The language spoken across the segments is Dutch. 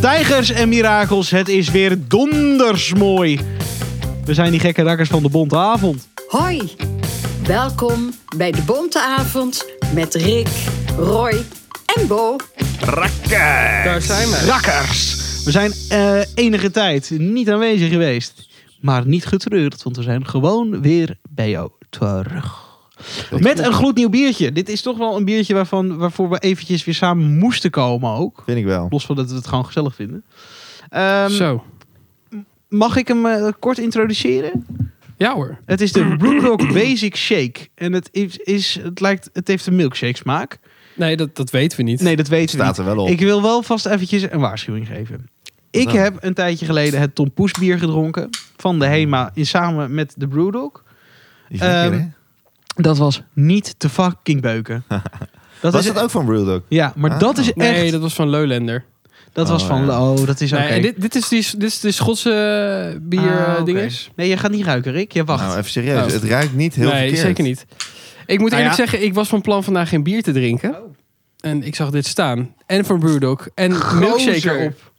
Tijgers en mirakels, het is weer donders mooi. We zijn die gekke rakkers van de Bonte Avond. Hoi, welkom bij de Bonte Avond met Rick, Roy en Bo. Daar zijn we. Rakkers! We zijn eh, enige tijd niet aanwezig geweest. Maar niet getreurd, want we zijn gewoon weer bij jou terug. Met een gloednieuw biertje. Dit is toch wel een biertje waarvan, waarvoor we eventjes weer samen moesten komen ook. Vind ik wel. Los van dat we het gewoon gezellig vinden. Ehm, Zo. mag ik hem eh, kort introduceren? Ja hoor. Het is de Brewdog Basic Shake. En het, is, is, het, lijkt, het heeft een milkshake smaak. Nee, dat, dat weten we niet. Nee, dat weten we Staat er wel op. Ik wil wel vast eventjes een waarschuwing geven. Ik Nou. heb een tijdje geleden het Tom Poes bier gedronken van de Hema in samen met de Brewdog. Die is Ehm, lekker, hè? Dat was niet te fucking beuken. Dat Was is- dat ook van Brewdog? Ja, maar Ah. dat is echt. Nee, dat dat was van Lowlander. was Oh, van. ja. Oh, dat is oké. Nee, en dit, eh, dit is die, dit is de Schotse Ah, oké. bierdinges. Nee, je gaat niet ruiken, Rick. Je wacht. Nou, even serieus. Oh. Het ruikt niet heel nee, verkeerd. zeker niet. Ik moet Nou eerlijk ja. zeggen, ik was van plan vandaag geen bier te drinken. Oh. En ik zag dit staan. En van Brewdog. En eh, milkshaker op.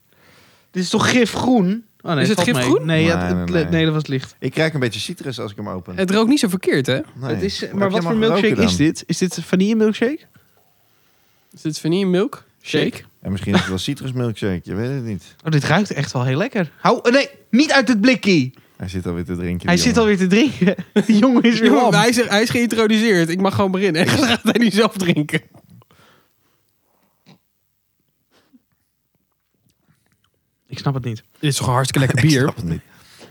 Dit is toch gifgroen? Oh, nee, Is het valt mee. gifgroen? Nee, ja, Nee, het- nee, het- nee. nee, dat was het licht. Ik krijg een beetje citrus als ik hem open. Het rookt niet zo verkeerd, hè? Nee. Het is, Heb maar jij wat voor hem al milkshake geroken is dan? dit? Is dit vanille milkshake? Is dit vanille milk? Shake? En misschien is het wel citrus milkshake. Je weet het niet. Oh, dit ruikt echt wel heel lekker. Hou, oh, nee, niet uit het blikkie. Hij zit alweer te drinken. Hij die zit jongen. alweer te drinken. Die jongen is weer Jongen, lam. hij, is, hij is geïntroduceerd. Ik mag gewoon beginnen. En dan gaat hij nu zelf drinken. Ik snap het niet. Dit is toch een hartstikke lekker Ik bier? snap het niet.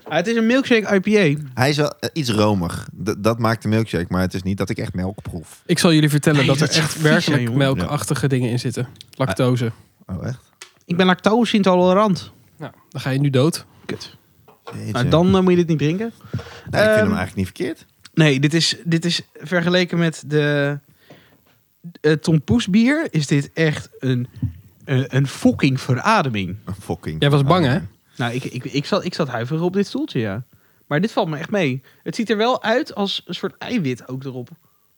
Ah, het is een milkshake IPA. Hij is wel eh, iets romig. D- dat maakt de milkshake. Maar het is niet dat ik echt melk proef. Ik zal jullie vertellen Nee, dat, dat er is echt vies, hè, werkelijk jongen. melkachtige dingen in zitten. Lactose. Oh, echt? Ik ben lactose intolerant. Nou, dan ga je nu dood. Kut. Jeetje. Nou, dan eh, moet je dit niet drinken. Nou, ik vind ehm, hem eigenlijk niet verkeerd. Nee, dit is, dit is vergeleken met de eh Tom Poes bier. Is dit echt een, eh, een fucking verademing. Een Fucking. Oh, Jij was bang, hè? Nou, ik, ik, ik, zat, ik zat huiverig op dit stoeltje, ja. Maar dit valt me echt mee. Het ziet er wel uit als een soort eiwit ook erop.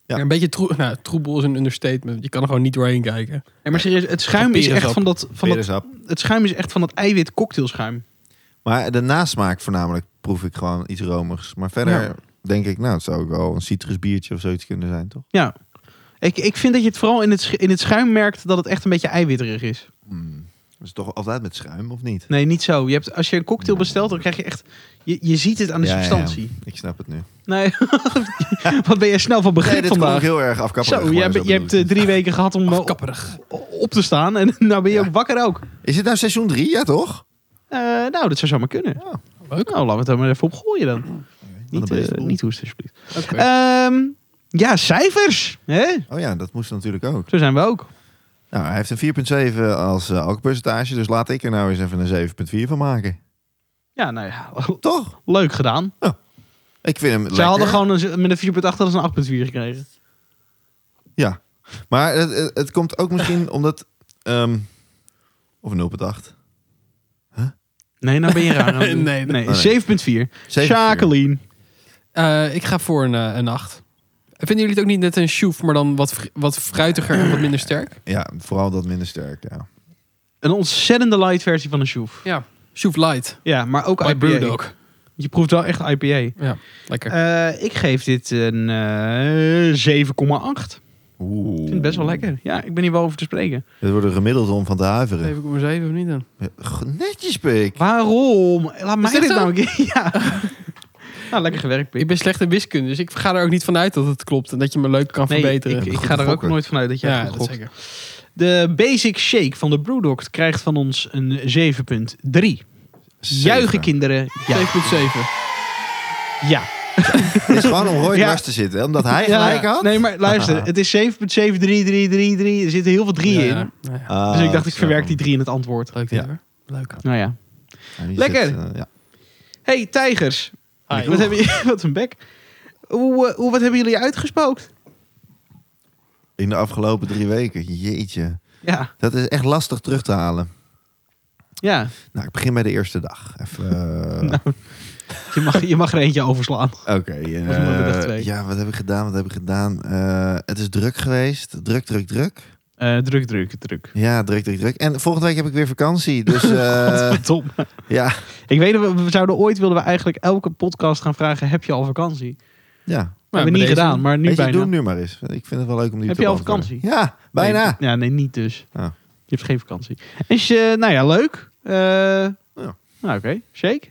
Ja. Ja, Een beetje troe nou, troebel is een understatement. Je kan er gewoon niet doorheen kijken. Nee, maar serieus, het schuim is echt Perensap. van dat, van dat, Perensap. het schuim is echt van dat eiwit cocktailschuim. Maar de nasmaak voornamelijk proef ik gewoon iets romigs. Maar verder Ja. denk ik, nou, het zou ook wel een citrusbiertje of zoiets kunnen zijn, toch? Ja. Ik, ik vind dat je het vooral in het, sch- in het schuim merkt dat het echt een beetje eiwitterig is. Hmm. Dat is toch altijd met schuim, of niet? Nee, niet zo. Je hebt, als je een cocktail bestelt, dan krijg je echt... Je, je ziet het aan de Ja, ja, ja. substantie. Ik snap het nu. Nee, wat ben jij snel van begrip Nee, dit vandaag. klonk heel erg afkappen. Zo, jij, bent- je hebt eh, drie weken gehad om wel Kapperig. op te staan en nou ben je Ja. ook wakker ook. Is het nou seizoen drie? Ja, toch? Eh, nou, dat zou zomaar kunnen. Leuk. Nou, laten we het daar maar even op gooien dan. Niet, een eh, baseball. niet hoesten, alsjeblieft. Oké. Ehm, ja, cijfers. Hè? Oh ja, dat moest natuurlijk ook. Zo zijn we ook. Nou, hij heeft een 4,7 als eh, alcoholpercentage, dus laat ik er nou eens even een 7,4 van maken. Ja, nou ja, Toch? leuk gedaan. Ik vind hem Zij lekker. hadden gewoon een, met een 4.8 hadden ze een 8.4 gekregen. Ja, maar het, het, het komt ook misschien omdat... ehm of een 0,8. Nee, nou ben je raar. aan het doen. Nee, nee, nee. 7.4. Jacqueline. Eh, ik ga voor een, eh, een acht. Vinden jullie het ook niet net een shoef, maar dan wat, fr- wat fruitiger en wat minder sterk? Ja, vooral dat minder sterk, ja. Een ontzettende light versie van een Sjoef. Ja. Shoef light. Ja, maar ook Bij IPA. Brewdog. Je proeft wel echt IPA. Lekker. Eh, ik geef dit een eh 7,8. Oeh. Ik vind het best wel lekker. Ja, ik ben hier wel over te spreken. Het wordt er gemiddeld om van te huiveren. 7,7 of niet dan? Netjes, pik. Waarom? Laat mij dit dit zo? nou een keer. Ja. nou, lekker gewerkt, Pik. Ik ben slecht in wiskunde, dus ik ga er ook niet vanuit dat het klopt en dat je me leuk kan Nee, verbeteren. ik, ik Goed ga er ook gokken. nooit vanuit dat jij ja, het goed dat gokt. zeker. De Basic Shake van de Brewdog krijgt van ons een 7.3. Juichen kinderen. Ja. 7,7. ja. Het is gewoon om Roy Ja. dwars te zitten, hè, omdat hij Ja, gelijk Ah. had. Nee, maar luister. Het is 7.73333. Er zitten heel veel drieën Ja, in. Ah, nou ja. Ah, Dus ik dacht, ik zo. verwerk die drie in het antwoord. Leuk Ja. dit hoor. Leuk. Nou ja. Ja, die Lekker. zit, eh, ja. Hey, tijgers. Hi. Wat, hebben jullie- wat een bek. Hoe, eh, hoe, wat hebben jullie uitgespookt? In de afgelopen drie weken. Jeetje. Ja, Dat is echt lastig terug te halen. ja. Nou, ik begin bij de eerste dag. Even, eh, Je, mag, je mag er eentje overslaan. Oké. was moeilijk, dag eh, twee. ja, wat heb ik gedaan? Wat heb ik gedaan? Eh, het is druk geweest. Druk, druk, druk. Eh, druk, druk, druk. Ja, druk, druk, druk. En volgende week heb ik weer vakantie. Dus eh, Tom. ja, Ik weet, dat we we zouden ooit wilden we eigenlijk elke podcast gaan vragen: heb je al vakantie? ja. We bij hebben we niet deze. gedaan, maar nu Weet je, bijna. doe hem nu maar eens. Ik vind het wel leuk om die Heb te je al beantwoorden. vakantie? Ja, bijna. Nee, ja, nee, niet dus. Ah. Je hebt geen vakantie. Dus, eh, nou ja, leuk. Eh, Ja. Nou, oké. Shake.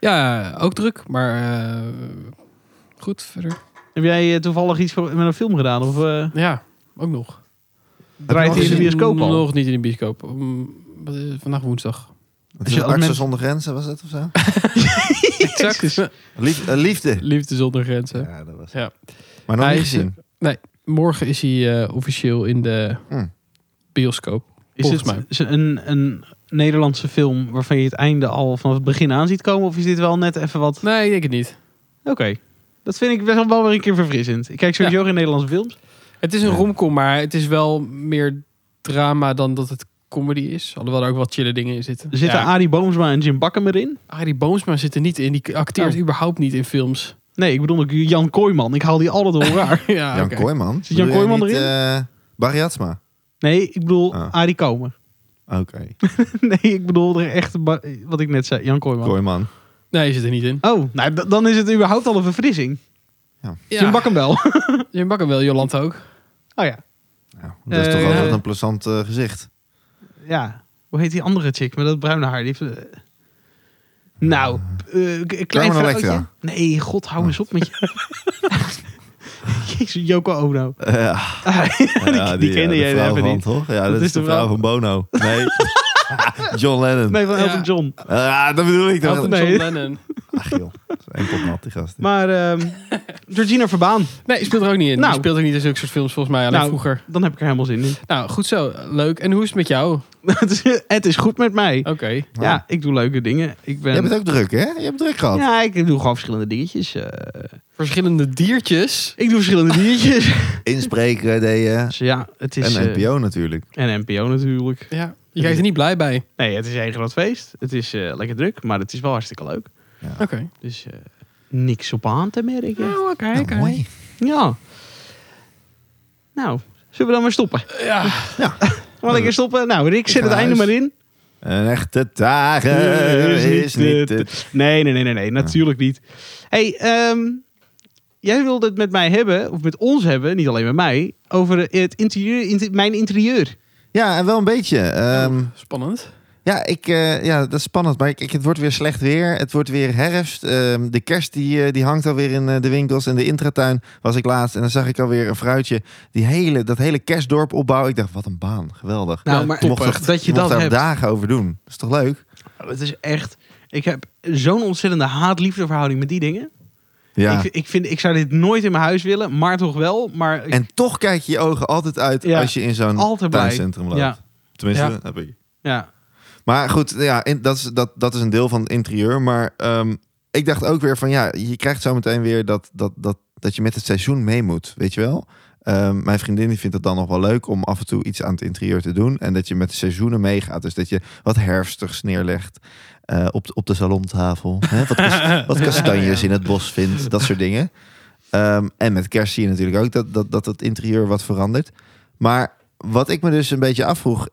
Ja, ook druk, maar eh, goed verder. Heb jij eh, toevallig iets voor- met een film gedaan? Of eh, Ja, ook nog. draait nog hij in de gezien? bioscoop al? Nog niet in de bioscoop. Mm, wat is het? vandaag woensdag. Het Als is je een als Artsen men- zonder grenzen, was dat of zo? Exact. Lief- eh, liefde. Liefde zonder grenzen. Ja, dat was Ja. Maar nog Hij niet is- gezien. Morgen is hij eh, officieel in de Hmm. bioscoop. Is Volgens het is een, een Nederlandse film waarvan je het einde al vanaf het begin aan ziet komen? Of is dit wel net even wat... Nee, ik denk het niet. Oké. Dat vind ik best wel- wel weer een keer verfrissend. Ik kijk sowieso geen Nederlandse films. Het is een Ja. romcom, maar het is wel meer drama dan dat het comedy is. Alhoewel er ook wat chille dingen in zitten. Er zitten ja. Arie Boomsma en Jim Bakkemer in. Arie Boomsma zit er niet in. Die acteert Oh. überhaupt niet in films. Nee, ik bedoel ook Jan Kooijman. Ik haal die altijd door elkaar. ja, Jan oké. Kooijman. Zit Ah, Jan Bedoel jij Kooijman niet, eh, Barry Atsma. Nee, ik bedoel Ah. Arie Komen. Oké, nee, ik bedoel er echt ba- wat ik net zei. Jan Kooijman. Kooijman. Nee, hij zit er niet in. Oh, nou, d- dan is het überhaupt al een verfrissing. Ja. Jim Bakken wel. Jim Bakker wel, Jolanta ook. oh ja. Nou, dat is Eh, toch altijd eh. een plezant eh, gezicht. Ja. Hoe heet die andere chick met dat bruine haar? Die heeft, eh, Nou, eh, k- een klein Carmen Oh. vrouwtje. Electra. Nee, god, hou eens op met je. Jezus, Joko Ono. Eh, ja, die, die, kende eh, de jij vrouw even van, niet. Toch? Ja, dat, is de vrouw, van Bono. Nee, John Lennon. Nee, van Elton Ja. John. Ah, dat bedoel ik. Dat Elton nee. John Lennon. Ach joh, dat is enkel nat die gast. Maar ehm, Georgina Verbaan, Nee, die speelt er ook niet in. Nou. Die speelt ook niet in zulke soort films volgens mij. Alleen Nou. vroeger. dan heb ik er helemaal zin in. Nou, goed zo. Leuk. En hoe is het met jou? Oké. het, is, het is goed met mij. Nou. Ja, ik doe leuke dingen. Ik Je ben... hebt het ook druk, hè? Je hebt het druk gehad. Ja, ik doe gewoon verschillende dingetjes. eh. Verschillende diertjes. ik doe verschillende dingetjes. Inspreken deed je. Dus ja, het is... En eh, NPO natuurlijk. en NPO natuurlijk. Ja. Je kijkt er niet blij bij. Nee, het is één groot feest. Het is eh, lekker druk, maar het is wel hartstikke leuk. Oké. Dus eh, niks op aan te merken. oké, Nou, mooi. Ja. Nou, zullen we dan maar stoppen? Ja. Maar lekker stoppen. Nou, Rick, zet ga het naar einde maar huis. in. Een echte dagen is niet te... Nee, nee, nee, nee, nee. Natuurlijk niet. hey, ehm, jij wilde het met mij hebben, of met ons hebben, niet alleen met mij, over het interieur, inter- mijn interieur. Ja, en wel een beetje. Ehm, Spannend. ja, ik, eh, ja, dat is spannend. Maar ik, het wordt weer slecht weer. Het wordt weer herfst. Ehm, de kerst die, eh, die hangt alweer in eh, de winkels. En de intratuin was ik laatst. En dan zag ik alweer een fruitje. Die hele, dat hele kerstdorp opbouwen. Ik dacht, wat een baan. Geweldig. Nou, Ja, maar topper. mocht er- dat je mocht dat daar hebt. dagen over doen. Dat is toch leuk? Het is echt... Ik heb zo'n ontzettende haat-liefde verhouding met die dingen. Ja. Ik, ik, vind, ik zou dit nooit in mijn huis willen, maar toch wel. Maar ik- En toch kijk je je ogen altijd uit Ja, als je in zo'n altijd blij. tuincentrum loopt. Ja. Tenminste, Ja. heb ik. ja. Maar goed, ja, in- dat, is, dat, dat is een deel van het interieur. Maar ehm, ik dacht ook weer van ja, je krijgt zo meteen weer dat, dat, dat, dat je met het seizoen mee moet. Weet je wel? Ehm, mijn vriendin die vindt het dan nog wel leuk om af en toe iets aan het interieur te doen. En dat je met de seizoenen meegaat. Dus dat je wat herfstigs neerlegt eh, op, de- op de salontafel. Hè? Wat, kas- wat kastanjes in het bos vindt. Dat soort dingen. Ehm, en met kerst zie je natuurlijk ook dat, dat, dat het interieur wat verandert. Maar wat ik me dus een beetje afvroeg.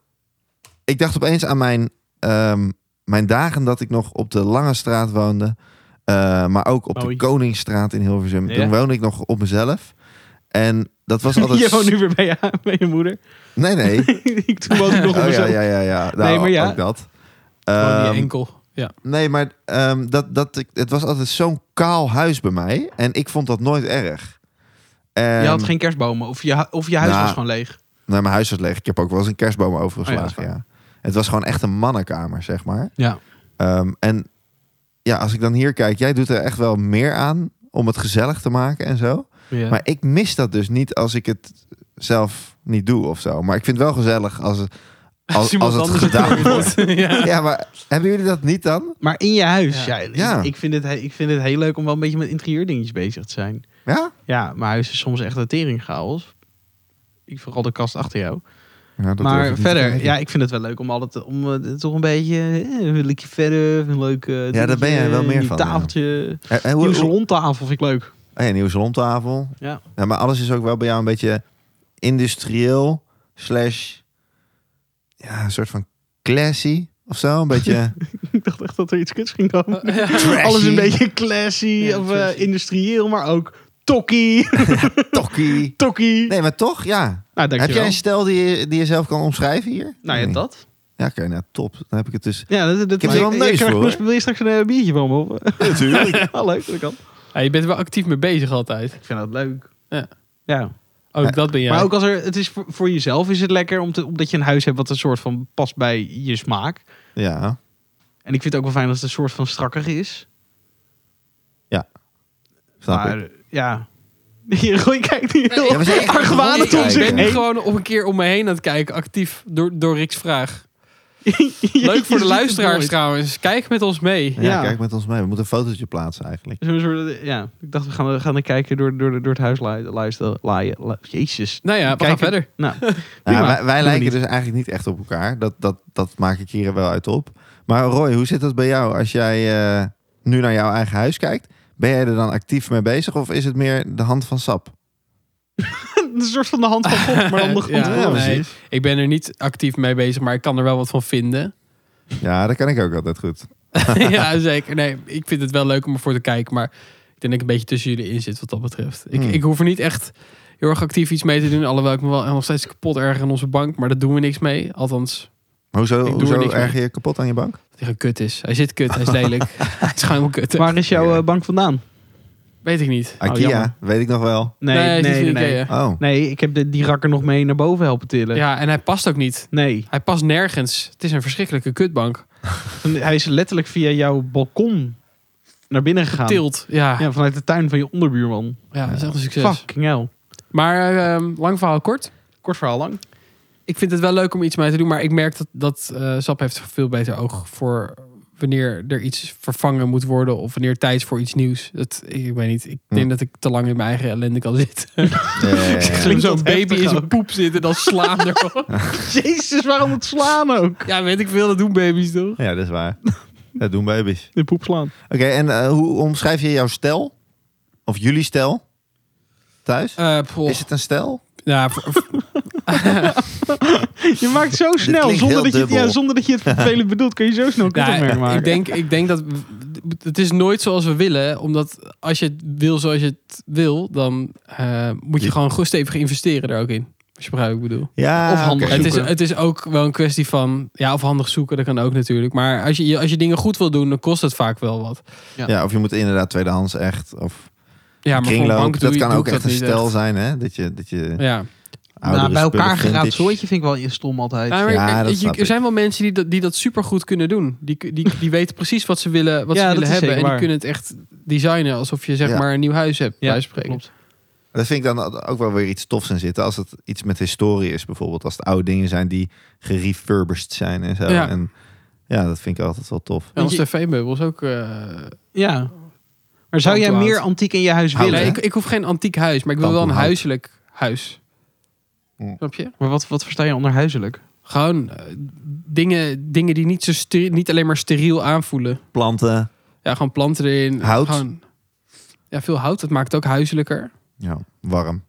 Ik dacht opeens aan mijn, ehm, mijn dagen dat ik nog op de Lange Straat woonde. eh, maar ook op Mooi. de Koningsstraat in Hilversum. Ja. Toen woonde ik nog op mezelf. En dat was altijd... Je woont nu weer bij je, bij je moeder. Nee, nee. ik toen woonde ik nog op Oh, ja, mezelf. ja, ja, ja. Nou, Nee, maar ja. Ook dat. Gewoon Ehm, die enkel. Ja. Nee, maar ehm, dat, dat, ik- het was altijd zo'n kaal huis bij mij. En ik vond dat nooit erg. Je had Ehm, geen kerstbomen of je, hu- of je huis Nou, was gewoon leeg. Nou, mijn huis was leeg. Ik heb ook wel eens een kerstboom Oh ja, dat overgeslagen. is ja. Het was gewoon echt een mannenkamer, zeg maar. Ja. Ehm, en ja, als ik dan hier kijk, jij doet er echt wel meer aan om het gezellig te maken en zo. Ja. Maar ik mis dat dus niet als ik het zelf niet doe of zo. Maar ik vind het wel gezellig als het, als, als het gedaan wordt. ja. Ja, maar hebben jullie dat niet dan? Maar in je huis, ja. Ja. ik- Ja. Ik, vind het, he- ik vind het heel leuk om wel een beetje met interieurdingetjes bezig te zijn. Ja? Ja, mijn huis is soms echt een teringchaos. Ik vooral de kast achter jou. Ja, dat durf ik maar niet te verder, kijken. ja, ik vind het wel leuk om altijd om eh, toch een beetje eh, wil ik je verder, een leuk eh, daar dingetje, ben jij wel meer nieuw van, ja. Tafeltje, En, en Eh, hoe, nieuwe hoe- salontafel vind ik leuk. Oh ja, nieuwe salontafel. Ja. Ja, maar alles is ook wel bij jou een beetje industrieel. slash ja, een soort van classy of zo. Een beetje Ik dacht echt dat er iets kuts ging komen. trashy. Alles een beetje classy Ja, of eh, trashy. industrieel, maar ook tokkie, tokkie. tokkie. Nee, maar toch, ja. Nou, Heb jij dankjewel. een stijl die je, die je zelf kan omschrijven hier? Nou ja, Nee. dat. Ja, oké, nou top. Dan heb ik het dus. Ja, dat, dat heb is- er wel een je neus krijgt- voor, hoor. Wil je straks een eh, biertje van me? of- Natuurlijk. Ah, leuk, dat kan. Ja, je bent er wel actief mee bezig altijd. Ik vind dat leuk. Ja. Ja. Ook Ja. dat ben jij. Maar ook als er, het is voor, voor jezelf is het lekker om te, omdat je een huis hebt wat een soort van past bij je smaak. ja. En ik vind het ook wel fijn als het een soort van strakkig is. Snap maar eh, ik. ja. Gooi, kijkt niet heel Ja, we zijn echt argwanend om gewoon ik zich ben nu heen. gewoon op een keer om me heen aan het kijken, actief door, door Rick's vraag. Leuk voor de luisteraars trouwens. Kijk met ons mee. Ja, ja. kijk met ons mee. We moeten een fotootje plaatsen eigenlijk. Zo'n soort- Ja, ik dacht we gaan, we gaan er kijken door, door, door het huis laaien. laaien, laaien la- Jezus. Nou ja, we gaan Kijken. verder. Nou, Ja, prima. wij Doen we wij lijken niet. dus eigenlijk niet echt op elkaar. Dat, dat, dat maak ik hier wel uit op. Maar Roy, hoe zit dat bij jou als jij eh, nu naar jouw eigen huis kijkt? Ben jij er dan actief mee bezig of is het meer de hand van sap? een soort van de hand van God, maar dan de grond. Ja, voor ons. nee. Ik ben er niet actief mee bezig, maar ik kan er wel wat van vinden. Ja, dat kan ik ook altijd goed. ja, zeker. Nee, ik vind het wel leuk om ervoor te kijken, maar ik denk dat ik een beetje tussen jullie in zit wat dat betreft. Ik, Hmm. ik hoef er niet echt heel erg actief iets mee te doen, alhoewel ik me wel nog steeds kapot erg aan onze bank, maar daar doen we niks mee. Althans, Maar Ik doe hoezo, er hoezo niks mee. erg je je kapot aan je bank? dat hij gewoon kut is. Hij zit kut, hij is lelijk. het is gewoon helemaal kut. Waar is jouw eh, bank vandaan? Weet ik niet. Oh, Ikea, jammer. Nou. weet ik nog wel. hij Nee, is nee, niet nee. van Nee, Ikea. Oh, Nee, ik heb de, die rakker nog mee naar boven helpen tillen. Ja, en hij past ook niet. Nee, Hij past nergens. Het is een verschrikkelijke kutbank. hij is letterlijk via jouw balkon naar binnen gegaan. Tilt. Ja, ja. Ja, vanuit de tuin van je onderbuurman. dat is echt een succes. Fucking hell. Maar ehm, lang verhaal kort. Kort verhaal lang. Ik vind het wel leuk om iets mee te doen, maar ik merk dat, dat eh, Sap heeft veel beter oog voor wanneer er iets vervangen moet worden of wanneer tijd is voor iets nieuws. Dat, ik, weet niet, ik denk Hm. dat ik te lang in mijn eigen ellende kan zitten. eh, Klinkt Zo'n dat baby heftig in zijn ook. poep zitten, dan slaan er Jezus, waarom het slaan ook? Ja, weet ik veel, dat doen baby's toch? ja, dat is waar. Dat doen baby's. De poep slaan. Oké, en eh, hoe omschrijf je jouw stijl? Of jullie stijl? Thuis? Eh, poh. Is het een stijl? Ja, voor- voor- Je maakt zo snel, klinkt zonder heel dat, je, het- ja, dubbel. zonder dat je het vervelend bedoelt, kun je zo snel een Ja, kutopmerking maken. nou, ik, denk, ik denk dat w- het is nooit zoals we willen. Omdat als je het wil zoals je het wil, dan eh, moet je Ja. gewoon goed stevig investeren daar ook in. Als je begrijpt wat ik bedoel. Ja, Of handig oké. Het is, zoeken. het is ook wel een kwestie van, ja, of handig zoeken, dat kan ook natuurlijk. Maar als je- je, als je dingen goed wil doen, dan kost het vaak wel wat. Ja, of je moet inderdaad tweedehands echt. Of Ja, maar voor een bank kringloop. doe Dat je- kan doe ook ik echt een dat niet stijl zijn, hè? Dat je, dat je Ja. oudere Nou, bij elkaar spullen geraapt vintage- zooitje vind ik wel stom altijd. Ja, maar Ja, ik- dat ik- snap er ik. zijn wel mensen die dat, die dat super goed kunnen doen. Die, die, die weten precies wat ze willen, wat Ja, ze dat willen is hebben. zeker En die waar. kunnen het echt designen alsof je zeg Ja. maar een nieuw huis hebt. Ja, Ja, klopt. klopt. Dat vind ik dan ook wel weer iets tofs in zitten. Als het iets met historie is, bijvoorbeeld. Als het oude dingen zijn die gerefurbished zijn en zo. Ja. En ja, dat vind ik altijd wel tof. En ons Want tv-meubel is ook eh, Ja. Maar zou Hout jij to meer hout. antiek in je huis Hout, willen? Nee, hè? ik, ik hoef geen antiek huis, maar ik wil wel een Tampoenhout. huiselijk huis. Mm. Snap je? Maar wat, wat versta je onder huiselijk? Gewoon eh, dingen, dingen die niet, zo steri- niet alleen maar steriel aanvoelen. Planten. Ja, gewoon planten erin. Hout. Gewoon, ja, veel hout. Dat maakt het ook huiselijker. Ja, warm.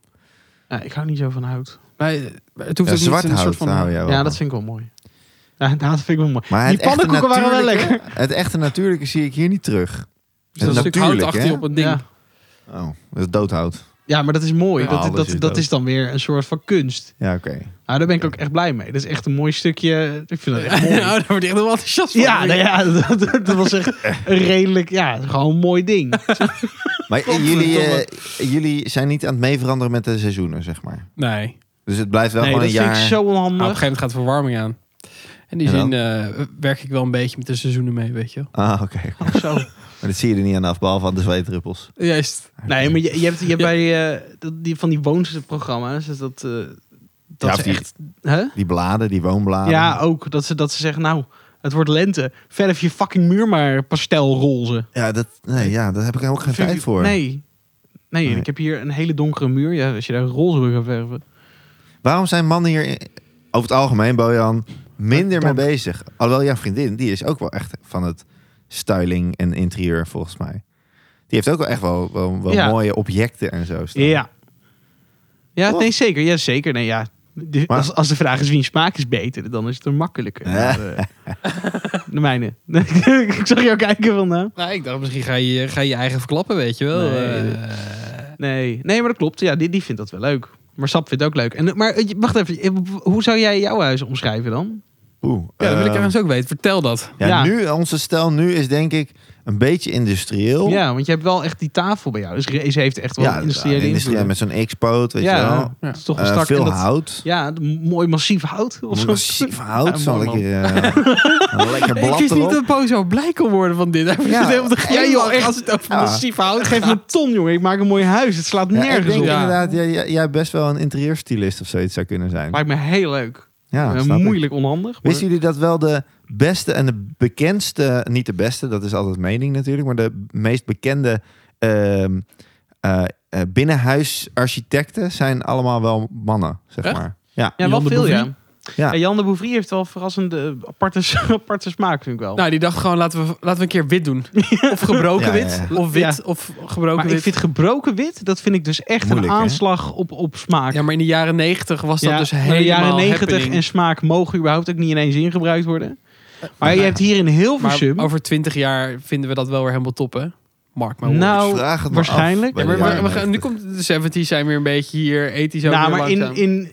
Ja, ik hou niet zo van hout. Maar eh, het hoeft Ja, ook niet zwart een soort hout van... hou jij wel Ja, van. dat vind ik wel mooi. Ja, dat vind ik wel mooi. Maar Die het echte pannenkoeken waren wel natuurlijke- lekker. Het echte natuurlijke zie ik hier niet terug. Dus dat Het stuk hout natuurlijk, achter hè? je op een ding. Ja. Oh, dat is doodhout. Ja, maar dat is mooi. Ja, dat alles dat, is dat dood. is dan weer een soort van kunst. Ja, oké. Nou, daar ben ik ook echt blij mee. Dat is echt een mooi stukje. Ik vind Oh, dat echt nou, mooi. daar word je echt wel enthousiast van. Ja, nou ja dat, dat- dat was echt een redelijk, ja, gewoon een mooi ding. Maar jullie, eh, jullie zijn niet aan het meeveranderen met de seizoenen, zeg maar. Nee. Nou, Dus het blijft wel nee, gewoon dat een jaar. vind ik zo op een onhandig. gegeven moment gaat de verwarming aan. In die En dan? zin eh, werk ik wel een beetje met de seizoenen mee, weet je wel. Ah, oké. Of Oh, zo. Maar dat zie je er niet aan af, behalve aan de zweetdruppels. Juist. Nee, maar je, je hebt, je hebt bij eh, dat- die, van die woonprogramma's, is dat, eh, dat Ja, ze of die- echt... Hè? Die bladen, die woonbladen. Ja, ook. Dat ze, dat ze zeggen, nou, het wordt lente. Verf je fucking muur maar pastelroze. Ja, dat, nee, ja, daar heb ik ook geen Vind tijd je- voor. Nee. Nee, Nee. ik heb hier een hele donkere muur. Ja, als je daar roze wil gaan verven. Waarom zijn mannen hier in- over het algemeen, Bojan, minder mee Dank. bezig? Alhoewel jouw vriendin, die is ook wel echt van het styling en interieur, volgens mij. Die heeft ook wel echt wel, wel, wel Ja. mooie objecten en zo staan. Ja. Ja, Toch? nee, zeker. Ja, zeker. Nee, ja. Die- Oh. Maar- als, als de vraag is wiens smaak is beter, dan is het een makkelijke. Maar, eh, de mijne. ik zag jou kijken van nou. Nou, ik dacht misschien ga je ga je je eigen verklappen, weet je wel. Nee. Eh, Nee, nee maar dat klopt. Ja, die, die vindt dat wel leuk. Maar Sap vindt het ook leuk. En, maar eh, wacht even, eh, hoe zou jij jouw huis omschrijven dan? Oeh, ja, dat wil ik ehm, trouwens ook weten. Vertel dat. ja, ja. Nu, onze stijl nu is denk ik een beetje industrieel. Ja, want je hebt wel echt die tafel bij jou. Dus Rees heeft echt wel Oh. Ja, industriële industrieel invloed. met zo'n X-poot, weet ja, je wel. dat is toch een Eh, strak. veel en dat- hout. Ja, d- mooi massief hout. Of zo. Massief hout, Ja, zal mooi ik man. hier, eh, een lekker Ik blad wist niet erop. dat Bo zo blij kon worden van dit. Hij Ja. ja. helemaal te- ja, joh, echt. Als het over Ja. massief hout Geef me een ton, jongen. Ik maak een mooi huis. Het slaat Ja, ik nergens denk op. Ja. inderdaad, jij, jij- jij best wel een interieurstylist of zoiets zou kunnen zijn. Lijkt me heel leuk. Ja, Eh, snap ik. moeilijk onhandig. maar- Wisten jullie dat wel de beste en de bekendste, niet de beste, dat is altijd mening natuurlijk, maar de meest bekende ehm, eh, eh, binnenhuisarchitecten zijn allemaal wel mannen, zeg Echt? maar. Ja, Ja, Jan wel de veel, ja. Bouvry? Ja. Ja, Jan de Bouvry heeft wel verrassend eh, aparte, aparte smaak, vind ik wel. Nou, die dacht gewoon, laten we, laten we een keer wit doen. Of gebroken Ja, wit. ja, Of wit. Ja. Of gebroken maar wit. ik vind gebroken wit, dat vind ik dus echt Moeilijk, een hè? aanslag op, op smaak. Ja, maar in de jaren negentig was dat Ja, dus maar helemaal de jaren happening. en smaak mogen überhaupt ook niet ineens ingebruikt worden. Maar je hebt hier in Hilversum... Maar over twintig jaar vinden we dat wel weer helemaal top, hè? Mark maar woorden. nou, Ik Dus vraag het me waarschijnlijk. af bij Ja, de maar, jaren maar- maar- negentig. nu komt de 70 zijn weer een beetje hier, ethisch ook nou, weer maar in, langzaam. in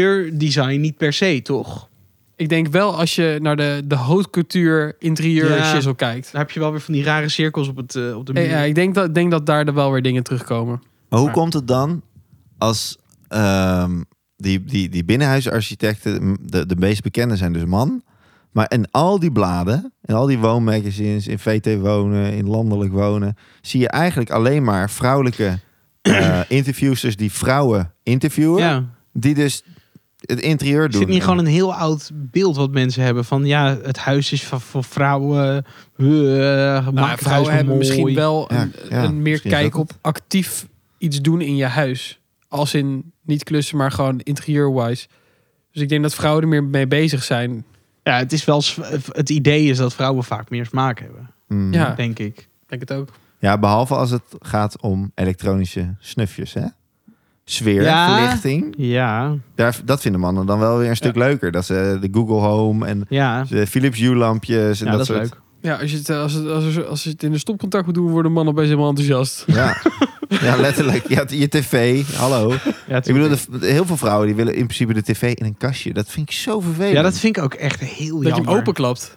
interieurdesign niet per se, toch? Ik denk wel als je naar de, de haute couture interieur Ja. shizzle kijkt. Dan heb je wel weer van die rare cirkels op, het, eh, op de Ja, muur. ja, ik denk dat, denk dat daar dan wel weer dingen terugkomen. Maar hoe Maar- komt het dan als ehm, die, die, die binnenhuisarchitecten, m, de, de meest bekende zijn dus man. Maar in al die bladen, in al die woonmagazines, in VT Wonen, in Landelijk Wonen, zie je eigenlijk alleen maar vrouwelijke eh interviewsters die vrouwen interviewen. Ja. Die dus het interieur doen. Zit niet gewoon een heel oud beeld wat mensen hebben van ja, het huis is van, voor vrouwen. Uh, Nou, maak het huis vrouwen maar hebben mooi. misschien wel Ja, een, ja, een meer misschien is kijk dat op actief iets doen in je huis. Als in niet klussen, maar gewoon interieur-wise. Dus ik denk dat vrouwen er meer mee bezig zijn. Ja, het is wel s- het idee is dat vrouwen vaak meer smaak hebben, Mm. Ja. denk ik. Ik Denk het ook. Ja, behalve als het gaat om elektronische snufjes, hè? Sfeer, Ja. verlichting. Ja, Daar, dat vinden mannen dan wel weer een stuk leuker. Dat ze de Google Home en ja, de Philips Hue lampjes en ja dat, dat, is soort. leuk. Ja, als je het, eh, als het, als het, als je het in de stopcontact moet doen, worden mannen best helemaal enthousiast. Ja. ja, letterlijk. Ja, je tv, hallo. Ja, Ik bedoel, de- heel veel vrouwen die willen in principe de tv in een kastje. Dat vind ik zo vervelend. ja, dat vind ik ook echt heel Dat je jammer. hem openklapt. Ja,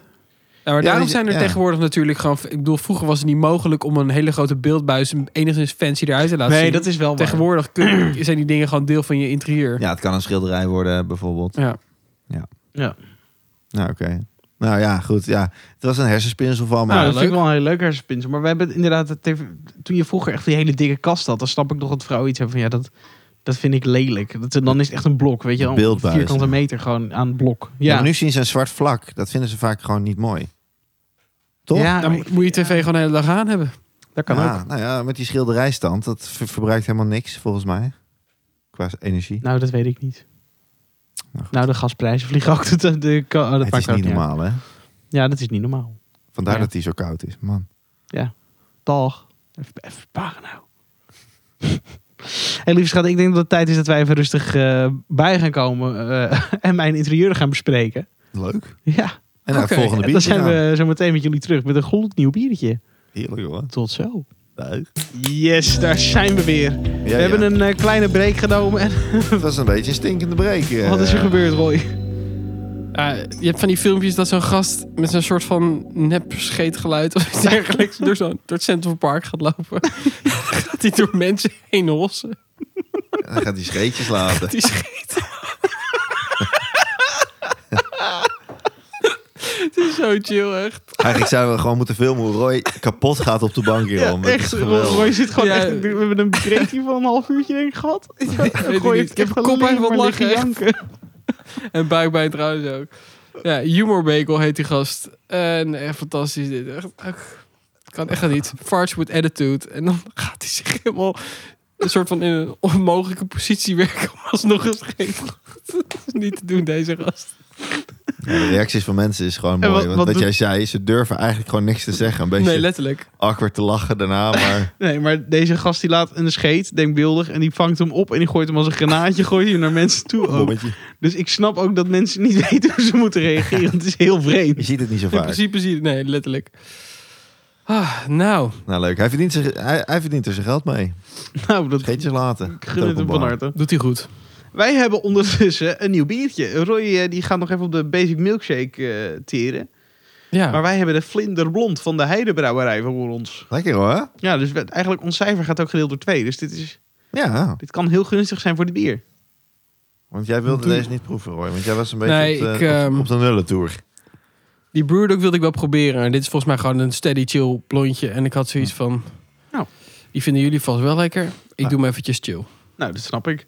maar Ja, daarom dat je- zijn er ja. tegenwoordig natuurlijk gewoon... Ik bedoel, vroeger was het niet mogelijk om een hele grote beeldbuis... een- enigszins fancy eruit te laten Nee, zien. dat is wel waar. Tegenwoordig kun- zijn die dingen gewoon deel van je interieur. Ja, het kan een schilderij worden bijvoorbeeld. Ja. Ja. Nou, oké. Nou ja, goed. Ja. Het was een hersenspinsel van me. Nou, dat leuk. vind ik wel een heel leuk hersenspinsel. Maar we hebben het inderdaad, het heeft- toen je vroeger echt die hele dikke kast had, dan snap ik nog dat vrouwen iets hebben van ja, dat, dat vind ik lelijk. Dat, dan is het echt een blok, weet je wel. Een Beeldbuis. vierkante meter gewoon aan het blok. Ja, Ja, maar nu zien ze een zwart vlak. Dat vinden ze vaak gewoon niet mooi. Toch? Ah, Ja, Dan maar moet- moet je tv gewoon de hele dag aan hebben. dat kan Ja, ook. Nou ja, met die schilderijstand. Dat ver- verbruikt helemaal niks, volgens mij. Qua energie. Nou, dat weet ik niet. Nou, goed. Nou, de gasprijzen vliegen ook. De, de, de- oh, dat het maakt is niet ook uit. normaal, hè? Ja, dat is niet normaal. Vandaar Ja. dat hij zo koud is, man. Dag. Even, even sparen nou. Hey, lieve schat, ik denk dat het tijd is dat wij even rustig eh, bij gaan komen eh, en mijn interieur gaan bespreken. Leuk. Ja, En naar Oké, het volgende en dan biertje zijn gaan. we zo meteen met jullie terug met een gloednieuw biertje. Heerlijk hoor. Tot zo. Leuk. Yes, daar zijn we weer. Ja, we hebben een eh, kleine break genomen. En Het was een beetje een stinkende break. eh. wat is er gebeurd, Roy? Ja, je hebt van die filmpjes dat zo'n gast met zo'n soort van nep scheetgeluid of iets dergelijks door, zo'n door het Central Park gaat lopen. gaat hij door mensen heen hossen. Hij gaat die scheetjes laten. Die scheet. Het is zo chill, echt. Eigenlijk zouden we gewoon moeten filmen hoe Roy kapot gaat op de bank hierom. Dat is echt. geweldig. Roy zit gewoon Ja. echt... We hebben een break hier van een half uurtje denk ik gehad. ik Roy niet. heeft Ik heb echt een kop alleen uit wat maar liggen lachen, echt. janken. En buikpijn trouwens ook. Ja, Humor Bagel heet die gast. En eh, fantastisch dit. Echt, ach, kan echt niet. Farts with attitude. En dan gaat hij zich helemaal een soort van in een onmogelijke positie werken om alsnog een scheet. Dat is niet te doen, deze gast. Ja, de reacties van mensen is gewoon mooi. En wat- want wat dat doet- jij zei, ze durven eigenlijk gewoon niks te zeggen. Een beetje Nee, letterlijk. awkward te lachen daarna, maar... Nee, maar deze gast die laat een scheet, denkbeeldig, en die vangt hem op en die gooit hem als een granaatje gooit hij naar mensen toe. Ook. Momentje. Dus ik snap ook dat mensen niet weten hoe ze moeten reageren. Het is heel Je vreemd. ziet het niet zo In vaak. principe zie je... Nee, letterlijk. Ah, nou, Nou leuk, hij verdient, zich, hij, hij verdient er zijn geld mee. Nou, dat Geet je laten. ik gun het hem van harte. doet hij goed. Wij hebben ondertussen een nieuw biertje. Roy eh, die gaat nog even op de Basic Milkshake eh, teren. Ja. Maar wij hebben de Vlinderblond van de Heidebrouwerij voor ons. Lekker hoor. Ja, dus we- eigenlijk ons cijfer gaat ook gedeeld door twee. Dus dit, is, Ja, dit kan heel gunstig zijn voor de bier. want jij wilde deze niet proeven hoor. Want jij was een beetje Nee, op, de, ik, ehm, op, op de nullentour. Die Brewdog wilde ik wel proberen. En dit is volgens mij gewoon een steady chill blondje. En ik had zoiets van... Nou. Die vinden jullie vast wel lekker. Ik Nou. doe hem eventjes chill. Nou, dat snap ik.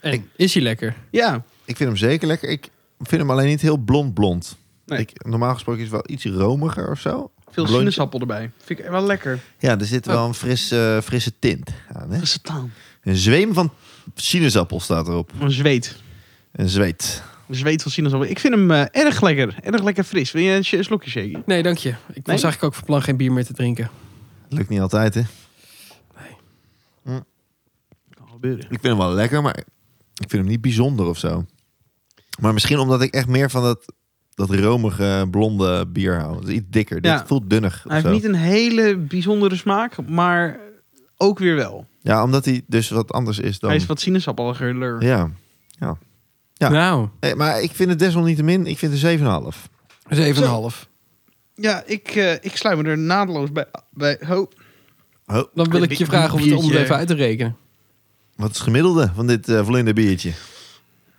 En is hij lekker? Ja, Ik vind hem zeker lekker. Ik vind hem alleen niet heel blond blond. Nee. Ik, normaal gesproken is het wel iets romiger of zo. veel Blondje. sinaasappel erbij. Vind ik wel lekker. Ja, er zit Oh. wel een frisse, eh, frisse tint aan. Hè? Satan. Een zweem van sinaasappel staat erop. Een zweet. Een zweet. Een zweet van sinaasappel. Ik vind hem eh, erg lekker. Erg lekker fris. Wil je een sh- slokje shaken? Nee, dank je. Ik was eigenlijk ook van plan geen bier meer te drinken. Lukt niet altijd, hè? Kan gebeuren. Ik vind hem wel lekker, maar ik vind hem niet bijzonder of zo. Maar misschien omdat ik echt meer van dat, dat romige blonde bier hou. Het is iets dikker. Ja. Dit voelt dunnig. of Hij heeft zo. niet een hele bijzondere smaak, maar ook weer wel. Ja, omdat hij dus wat anders is dan... Hij is wat sinaasappeliger. Ja. Ja. Nou, Hey, maar ik vind het desalniettemin, ik vind er 7,5. Zo. 7,5. Ja, ik, eh, ik sluit me er naadloos bij. bij ho. Oh, Dan wil ik je vragen om het Biertje. onderdeel even uit te rekenen. wat is het gemiddelde van dit eh vlinder biertje?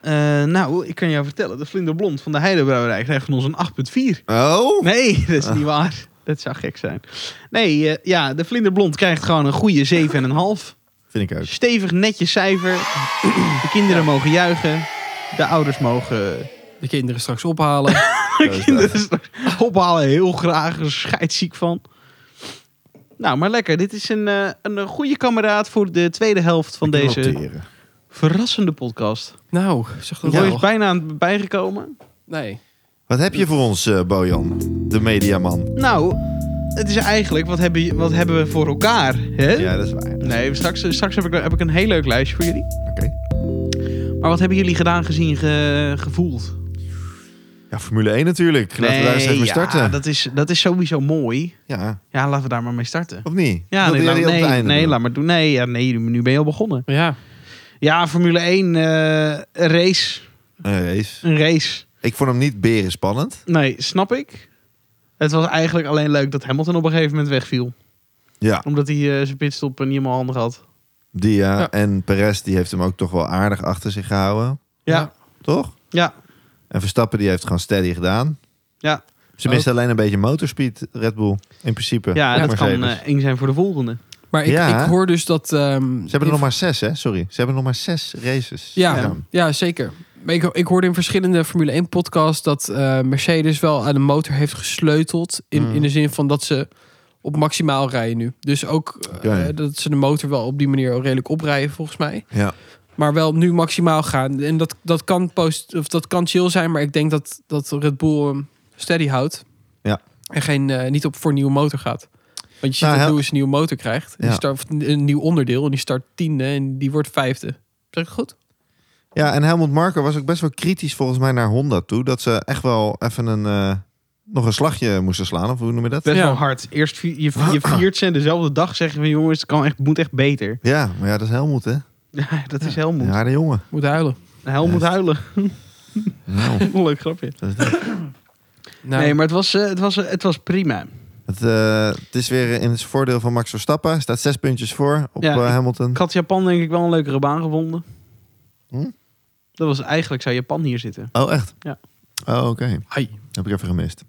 Eh, nou, ik kan jou vertellen, de Vlinderblond van de Heidebrouwerij krijgt van ons een 8,4. Oh! Nee, dat is niet waar. Dat zou gek zijn. Nee, eh, ja, de Vlinderblond krijgt gewoon een goede 7,5. Vind ik ook. Stevig, netjes cijfer. De kinderen mogen juichen. De ouders mogen De kinderen straks ophalen. Zo is dat. kinderen straks ophalen. Heel graag, er scheidsziek van. Nou, maar lekker. Dit is een, eh, een eh, goede kameraad voor de tweede helft van Ik kan deze noteren. verrassende podcast. nou, zeg dat Roy wel. is bijna aan het bijgekomen. Nee. Wat heb je voor ons, eh, Bojan? De mediaman. Nou, het is eigenlijk, wat hebben, wat hebben we voor elkaar? Hè? Ja, dat is waar. Nee, straks, straks heb, ik, heb ik een heel leuk lijstje voor jullie. Oké. Maar wat hebben jullie gedaan, gezien, ge- gevoeld? Ja, Formule 1 natuurlijk. Laten we daar eens even mee ja, starten. Dat is, dat is sowieso mooi. Ja, Ja, laten we daar maar mee starten. of niet? Ja, Wilde nee, jij laat, die op het nee, einde nee doen? laat maar doen. Nee, ja, nee, nu ben je al begonnen. Ja. Ja, Formule 1, eh, een race. Een race. Een race. Ik vond hem niet beren spannend. Nee, snap ik. Het was eigenlijk alleen leuk dat Hamilton op een gegeven moment wegviel. Ja. Omdat hij eh, zijn pitstop niet helemaal handig had. Dia Ja. en Perez die heeft hem ook toch wel aardig achter zich gehouden. Ja. Toch? Ja. En Verstappen die heeft gewoon steady gedaan. Ja. Ze misten alleen een beetje motorspeed, Red Bull. In principe. Ja, dat kan Mercedes. eh, eng zijn voor de volgende. Maar ik, Ja. ik hoor dus dat... ehm, Ze hebben in- er nog maar zes, hè? Sorry. Ze hebben nog maar zes races. Ja, ja zeker. Maar ik, ik hoorde in verschillende Formule 1-podcasts dat eh, Mercedes wel aan de motor heeft gesleuteld. In, Mm. in de zin van dat ze op maximaal rijden nu. Dus ook eh, Oké. dat ze de motor wel op die manier al redelijk oprijden, volgens mij. Ja. Maar wel nu maximaal gaan. En dat, dat, kan, post, of dat kan chill zijn, maar ik denk dat, dat Red Bull hem steady houdt. Ja. En geen, eh, niet op voor een nieuwe motor gaat. Want je ziet Nou, dat heel- Lewis een nieuwe motor krijgt. En Ja. Die start, of een nieuw onderdeel en die start tiende en die wordt vijfde. Zeg ik het goed? Ja, en Helmut Marko was ook best wel kritisch volgens mij naar Honda toe. Dat ze echt wel even een, eh, nog een slagje moesten slaan. Of hoe noem je dat? Best Ja. wel hard. Eerst vi- je, je viert ze en dezelfde dag zeggen van jongens, het kan echt, moet echt beter. Ja, maar ja, dat is Helmut, hè? Ja, dat is Helmoet. Een harde jongen. Moet huilen. Helmoet Juist. huilen. Nou, Leuk grapje. dat is Nou, Nee, maar het was, eh, het, was, eh, het was prima. Het, eh, het is weer in het voordeel van Max Verstappen. Hij staat zes puntjes voor op Ja, eh, ik- Hamilton. Ik had Japan denk ik wel een leukere baan gevonden. Hm? Dat was eigenlijk, zou Japan hier zitten. Oh, echt? Ja. Oh, oké. hai. Heb ik even gemist.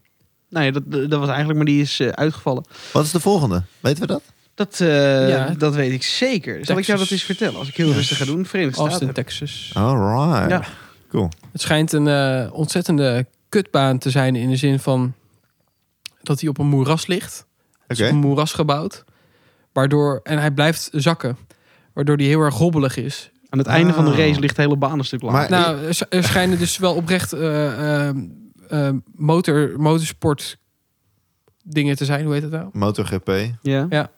Nee, dat, dat was eigenlijk, maar die is eh, uitgevallen. Wat is de volgende? Weten we dat? Dat, eh, Ja. dat weet ik zeker. Zal ik jou dat Texas. eens vertellen? Als ik heel rustig ga doen, Verenigde Austin, Staten. Texas. Alright. Ja. Cool. Ah. Het schijnt een eh, ontzettende kutbaan te zijn in de zin van dat hij op een moeras ligt. Oké. Het is op een moeras gebouwd. Waardoor, en hij blijft zakken. Waardoor die heel erg hobbelig is. Aan het einde van de Ah. race ligt de hele baan een stuk langer. Maar- Nou, er, er schijnen dus wel oprecht eh, eh, eh, motor, motorsport dingen te zijn. Hoe heet dat nou? MotoGP, Ja.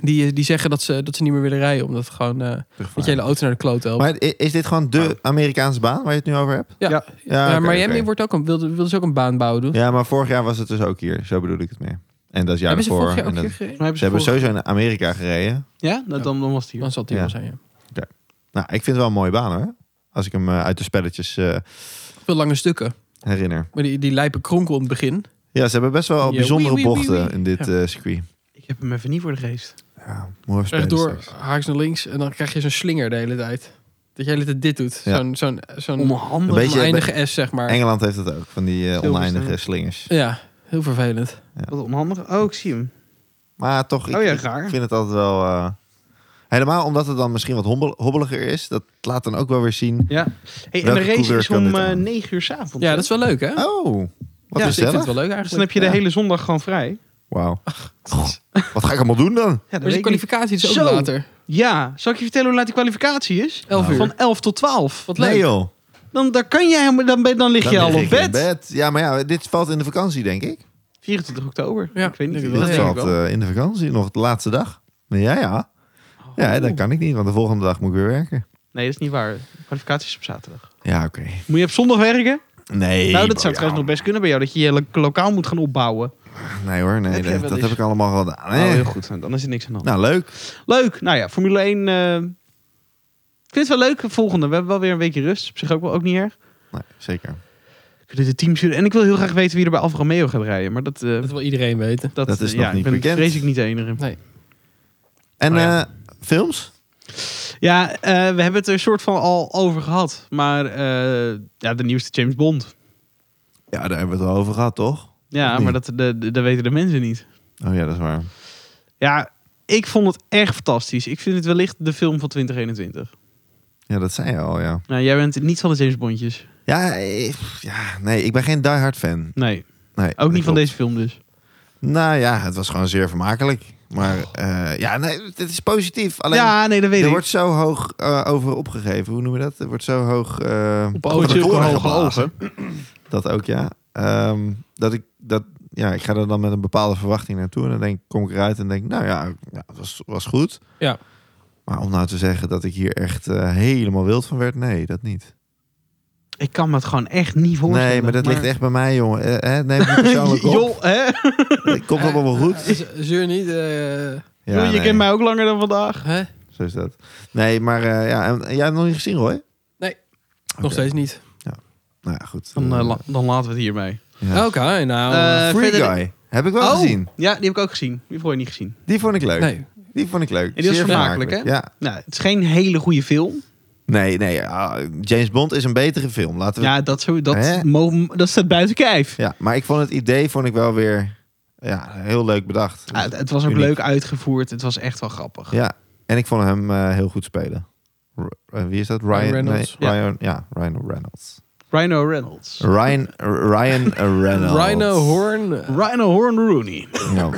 Die, eh, die zeggen dat ze, dat ze niet meer willen rijden. Omdat het gewoon eh dat je hele auto naar de kloot helpt. Maar i- is dit gewoon de Amerikaanse baan waar je het nu over hebt? ja. Ja. Ja, Maar oké, Miami oké. Wordt ook een, wilde, wilde ze ook een baan bouwen doen. Ja, maar vorig jaar was het dus ook hier. Zo bedoel ik het meer. En dat is jaar Hebben ze daarvoor. vorig jaar ook en dat- hier gereden? Dan hebben Ze hebben voor- sowieso in Amerika gereden. Ja? Nou, dan, dan was het hier. Dan zal het hier Ja. wel zijn, ja. Nou, ik vind het wel een mooie baan hoor. Als ik hem eh, uit de spelletjes eh, Veel lange stukken. herinner. Maar die, die lijpe kronkel in het begin. Ja, ze hebben best wel Ja, bijzondere wee, wee, wee, bochten wee. in dit Ja. eh, circuit. Ik heb hem even niet voor de geest. Ja, mooi spelen Rechtdoor, straks. haaks naar links. En dan krijg je zo'n slinger de hele tijd. Dat je de hele tijd dit doet. Ja. Zo'n zo'n zo'n Onhandig. Een beetje- oneindige S, zeg maar. Engeland heeft het ook, van die eh, Silverstone. oneindige slingers. Ja, heel vervelend. Wat onhandig. Oh, ik zie hem. Maar toch, ik, Oh ja, ik raar. vind het altijd wel... eh, helemaal omdat het dan misschien wat hombel- hobbeliger is. Dat laat dan ook wel weer zien. Ja. Hey, en Welke de race coureur is kan om dit eh, aan? 9 uur 's avonds. Ja, hè? dat is wel leuk, hè? Oh, wat Ja, dus ik vind gezellig. het Dus wel leuk dan eigenlijk. heb je de Ja. hele zondag gewoon vrij. Wauw. Wat ga ik allemaal doen dan? Ja, dat weet Maar de ik niet. kwalificatie is ook Zo. later. ja, zal ik je vertellen hoe laat die kwalificatie is? 11 uur. Van 11 tot 12. Wat leuk. Nou. Nee joh. Dan, dan, kan jij, helemaal- dan, ben- dan lig Dan je al lig op ik in bed. Ja, maar ja, dit valt in de vakantie denk ik. 24 oktober. Ja, ik weet niet. denk wie ik Dit dat wel. is. valt eh, in de vakantie, nog de laatste dag. Maar ja, ja. Oh. Ja, dat kan ik niet, want de volgende dag moet ik weer werken. Nee, dat is niet waar. Kwalificatie is op zaterdag. Ja, oké. Moet je op zondag werken? Nee. nou, dat zou Bojan. trouwens nog best kunnen bij jou. Dat je je lo- lokaal moet gaan opbouwen. Nee hoor, nee, Heb jij dat, wel dat eens? heb ik allemaal gedaan. Oh, Eh, heel goed. Dan is er niks aan de hand. Nou, leuk. Leuk. Nou ja, Formule 1. eh, ik vind het wel leuk. Volgende. We hebben wel weer een weekje rust. Op zich ook wel ook niet erg. Nee, zeker. Kunnen de teams... En ik wil heel graag weten wie er bij Alfa Romeo gaat rijden. Maar dat... eh, Dat wil iedereen weten. dat, dat is eh, nog ja, niet ik ben, bekend. Vrees ik niet de enige. En Oh, ja. eh, films? Ja, eh, we hebben het er soort van al over gehad. Maar eh, ja, de nieuwste James Bond. Ja, daar hebben we het al over gehad, toch? Ja, Nee. maar dat, de, de- dat weten de mensen niet. Oh ja, dat is waar. Ja, ik vond het echt fantastisch. Ik vind het wellicht de film van 2021. Ja, dat zei je al, ja. Nou, jij bent niet van de James Bondjes. Ja, eh, pff, ja nee, ik ben geen diehard fan. Nee, Nee, ook niet van deze. deze film dus. Nou ja, het was gewoon zeer vermakelijk. Maar eh, ja, nee, het is positief. Alleen, ja, nee, dat weet er ik. wordt zo hoog eh, over opgegeven. Hoe noemen we dat? Er wordt zo hoog... eh, Op Oh, ogen, over de zulke toren hoge geblazen. ogen. Dat ook, ja. Ehm, dat ik, dat, ja, ik ga er dan met een bepaalde verwachting naartoe. En dan denk, kom ik eruit en denk, nou ja, ja het was, was goed. Ja. Maar om nou te zeggen dat ik hier echt eh, helemaal wild van werd, nee, dat niet. Ik kan me het gewoon echt niet voorstellen. nee, maar dat ligt echt bij mij, jongen. Eh, eh, neem het niet persoonlijk op. Joh, hè? Het Komt allemaal wel goed. Z- Eh, Zeur niet. eh, Joh, je nee, kent mij ook langer dan vandaag. hè? Zo is dat. Nee, maar eh, ja, en, en jij hebt hem nog niet gezien, Roy? Nee. Oké. Nog steeds niet. Nou ja, goed. Dan, eh, Eh, la- dan laten we het hiermee. ja. Oké, nou. Eh, Free verder- Guy. Heb ik wel Oh, gezien. Ja, die heb ik ook gezien. Die vond je niet gezien. Die vond ik leuk. nee. Die vond ik leuk. En die was Zeer vermakelijk, Ja, Nou, het is geen hele goede film. Nee, nee. ah, James Bond is een betere film. Laten we... ja. Ja, dat, zo, dat, Hè? mo- dat staat buiten kijf. maar ik vond het idee vond ik wel weer ja, heel leuk bedacht. Ah, het, het was ook Uniek. leuk uitgevoerd. Het was echt wel grappig. Ja, en ik vond hem eh, heel goed spelen. R- eh, wie is dat? Ryan, Reynolds. nee, Ja. Ryan, ja, Ryan Reynolds. Rhino Reynolds. Ryan, Ryan Reynolds. Rhino Horn. eh, Rhino Horn Rooney. Ja.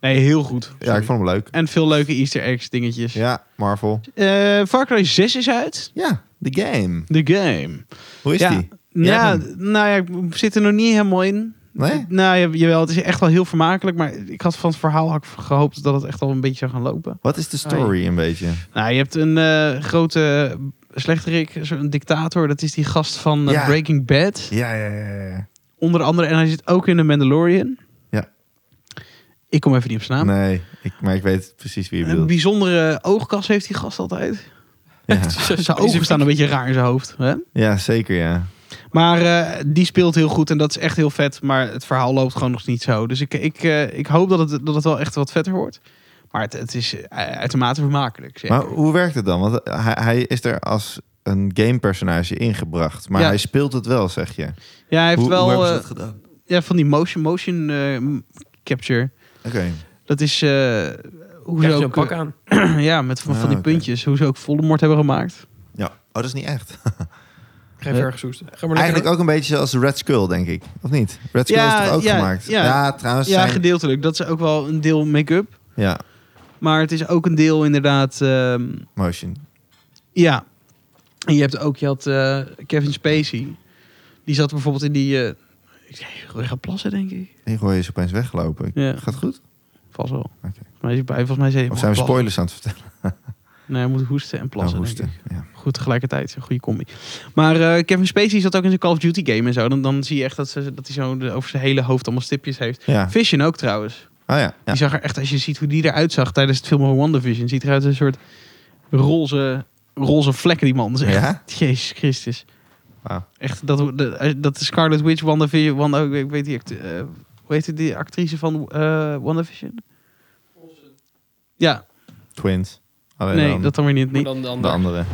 Nee, heel goed. ja, ik vond hem leuk. En veel leuke Easter eggs dingetjes. Ja, Marvel. Eh, Far Cry 6 is uit. Ja, The Game. The game. Hoe is ja. die? Jij Ja, hebt nou ja, ik zit er nog niet helemaal in. Nee? Nou, ja, jawel, het is echt wel heel vermakelijk. Maar ik had van het verhaal had ik gehoopt dat het echt al een beetje zou gaan lopen. Wat is de story een beetje? Nou, je hebt een eh, grote slechterik, een dictator. Dat is die gast van eh, Ja. Breaking Bad. Ja, ja, ja. ja. Onder andere, en hij zit ook in de Mandalorian. Ja. Ik kom even niet op zijn naam. Nee, ik, maar ik weet precies wie je Een bedoelt. bijzondere oogkas heeft die gast altijd. Ja, Zijn ogen staan een beetje raar in zijn hoofd. Hè? ja zeker ja. Maar eh, die speelt heel goed en dat is echt heel vet. Maar het verhaal loopt gewoon nog niet zo. Dus ik, ik, eh, ik hoop dat het, dat het wel echt wat vetter wordt. Maar het, het is eh, uitermate vermakelijk. Zeg. Maar hoe werkt het dan? Want hij, hij is er als een gamepersonage ingebracht. Maar Ja. hij speelt het wel, zeg je. ja, hij heeft Hoe- wel hoe hebben ze eh, dat gedaan? ja, van die motion, motion eh, m- capture. Oké. Dat is eh hoe Krijg ze je zo'n ook, pak aan. eh, ja, met van, Ah, van die oké. puntjes, hoe ze ook Voldemort hebben gemaakt. Ja. Oh, dat is niet echt. Geef Ja. ergens hoesten. Ga maar Eigenlijk lekker. ook een beetje zoals Red Skull, denk ik. Of niet? Red Skull Ja, is toch ook ja, gemaakt? ja. Ja, trouwens. Ja, zijn- gedeeltelijk. Dat is ook wel een deel make-up. ja, Maar het is ook een deel inderdaad... ehm, motion. Ja. En je hebt ook, je had eh, Kevin Spacey. Die zat bijvoorbeeld in die... eh ik zei, ga plassen, denk ik. Ingo is opeens weggelopen. Ja. Gaat het goed? Vast wel. Oké. Maar hij- volgens mij zei hij, Of zijn we "Plassen." spoilers aan het vertellen? Nee, hij moet hoesten en plassen. Oh, denk ik. hoesten. Ja. Goed tegelijkertijd, een goede combi. Maar eh, Kevin Spacey zat ook in zijn Call of Duty game en zo. Dan, dan zie je echt dat, ze, dat hij zo de- over zijn hele hoofd allemaal stipjes heeft. ja. Vision ook trouwens. Ah ja. ja. Die zag er echt, als je ziet hoe die eruit zag tijdens het filmen van WandaVision, ziet eruit als een soort roze, roze vlekken die man. Dat is echt, Ja? Jezus Christus. Wauw. Echt, dat, de- eh, dat de Scarlet Witch, WandaVision, Wanda, ik weet- ik weet die, act- eh, hoe heet die actrice van eh WandaVision? Ja, Twins. Alleen nee, Oh, dan dat dan weer niet. Maar niet. dan de de andere. andere.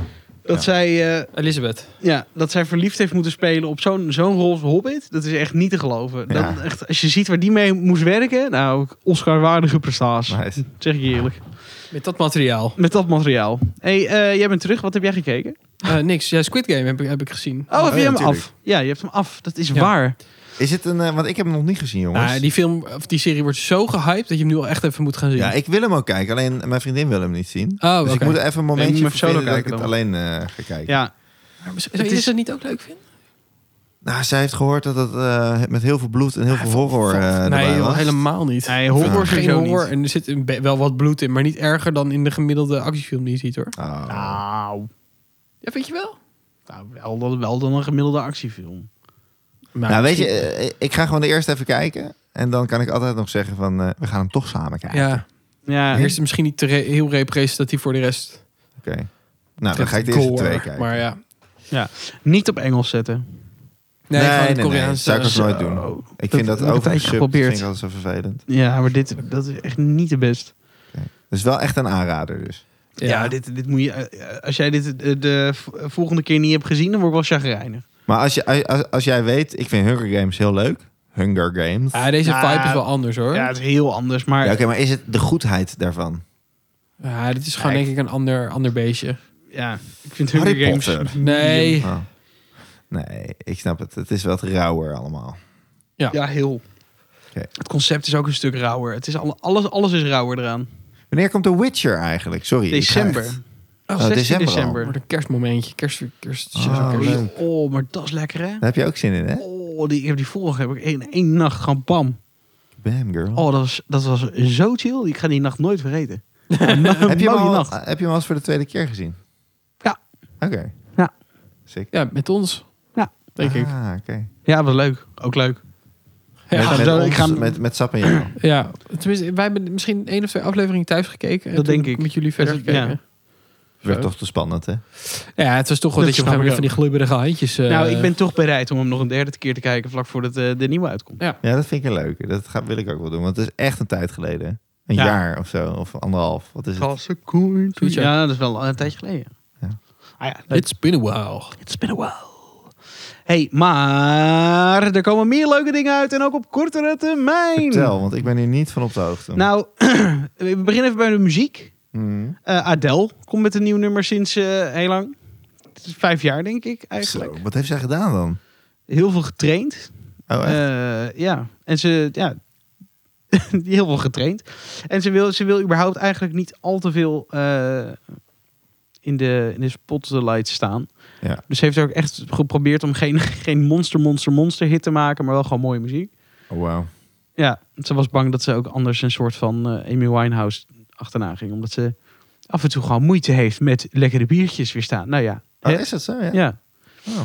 Dat Ja. zij... eh, Elisabeth. Ja, dat zij verliefd heeft moeten spelen op zo'n zo'n rol als Hobbit, dat is echt niet te geloven. Dat, Ja. echt, als je ziet waar die mee moest werken, nou, Oscar-waardige prestatie. Nice. Zeg ik je eerlijk. Met dat materiaal. Met dat materiaal. hey, eh, jij bent terug. Wat heb jij gekeken? Eh, niks. Ja, Squid Game heb ik, heb ik gezien. Oh, heb ja, je hem tuurlijk. af? Ja, je hebt hem af. Dat is Ja. waar. Is het een... eh, want ik heb hem nog niet gezien, jongens. Nou, die film of die serie wordt zo gehyped dat je hem nu al echt even moet gaan zien. Ja, ik wil hem ook kijken. Alleen mijn vriendin wil hem niet zien. Oh, dus oké. ik moet even een Nee, je moet momentje hem solo verzinnen dat ik kijken het alleen eh, ga kijken. Ja. Maar zou- Het zou je is- dat niet ook leuk vinden? Nou, zij heeft gehoord dat het eh, met heel veel bloed en heel veel horror eh nee, erbij joh, was. helemaal niet. Nee, horror Horror, geen sowieso niet. horror. En er zit een be- wel wat bloed in, maar niet erger dan in de gemiddelde actiefilm die je ziet hoor. Oh. Nou, Ja, vind je wel? nou, wel, dan- wel dan een gemiddelde actiefilm. Nou, weet je, eh, ik ga gewoon de eerste even kijken. En dan kan ik altijd nog zeggen van, eh, we gaan hem toch samen kijken. Ja, Ja, eerst misschien niet te re- heel representatief voor de rest. Oké. Nou, dan ga ik de eerste Gore, twee kijken. Maar ja. niet op Engels zetten. Nee, nee, gewoon nee, het nee, Koreaanse. zou ik ook nooit doen. Zo. Ik vind dat, heb ook ik een tijdje geprobeerd. vind ik altijd zo vervelend. Ja, maar dit dat is echt niet de best. Dus wel echt een aanrader dus. Ja, dit, dit moet je. eh, Als jij dit eh, de v- volgende keer niet hebt gezien, dan word ik wel chagrijnig. Maar als, je, als, als jij weet, ik vind Hunger Games heel leuk. Hunger Games. Ah, deze Ja. vibe is wel anders hoor. Ja, Ja, het is heel anders. Maar Ja, Oké, maar is het de goedheid daarvan? dit is gewoon Ja, ik- denk ik een ander, ander beestje. ja, ik vind Harry Hunger Games. Potter. Nee. Oh. Nee, ik snap het. Het is wat rauwer allemaal. Ja, heel. Oké. Het concept is ook een stuk rauwer. Het is alle, alles, alles is rauwer eraan. Wanneer komt The Witcher eigenlijk? Sorry. ik ga December. echt- Oh, december al. Wordt een kerstmomentje. Kerst, kerst, Oh, kerst- leuk. Oh, maar dat is lekker hè. Daar heb je ook zin in, hè? Oh, die, ik heb die vorige heb ik in één nacht gewoon bam. Bam, girl. Oh, dat was, dat was zo chill. Ik ga die nacht nooit vergeten. heb, je hem mooie al, nacht. heb je hem al eens voor de tweede keer gezien? Ja. Oké. Ja. Sick. Ja, met ons. Ja. Denk ik. Ah, oké. Ja, was leuk. Ook leuk. Met, Ja, met, zo, ons, ik ga- met, met Sap en jou. Ja, tenminste, wij hebben misschien één of twee afleveringen thuis gekeken. En Dat toen denk ik. Met jullie verder Dat- gekeken. Werd toch te spannend, hè? Ja. het was toch wel Dat dat je op een gegeven moment van snap die glibberige handjes... eh, nou, ik ben toch bereid om hem nog een derde keer te kijken vlak voordat eh, de nieuwe uitkomt. Ja, dat vind ik een leuke. Dat ga, wil ik ook wel doen. Want het is echt een tijd geleden. Een Ja. jaar of zo. Of anderhalf. Wat is het? Zoiets, ja. Ja, dat is wel een tijdje geleden. Ja. Ah ja, leuk. It's been a while. It's been a while. hey, maar er komen meer leuke dingen uit en ook op kortere termijn. Vertel, want ik ben hier niet van op de hoogte. Nou, we beginnen even bij de muziek. Hmm. Eh Adele komt met een nieuw nummer sinds eh, heel lang. Het is vijf jaar, denk ik, eigenlijk. Zo, wat heeft zij gedaan dan? Heel veel getraind. Oh, echt? Eh, ja, en ze, ja, heel veel getraind. En ze wil, ze wil überhaupt eigenlijk niet al te veel eh, in, de, in de spotlight staan. Ja. Dus ze heeft ook echt geprobeerd om geen, geen monster, monster, monster hit te maken, maar wel gewoon mooie muziek. Oh, wauw. Ja, ze was bang dat ze ook anders een soort van eh, Amy Winehouse achterna ging, omdat ze af en toe gewoon moeite heeft met lekkere biertjes weer staan. Nou ja, Oh, hè? is dat zo? Ja. ja. Oh.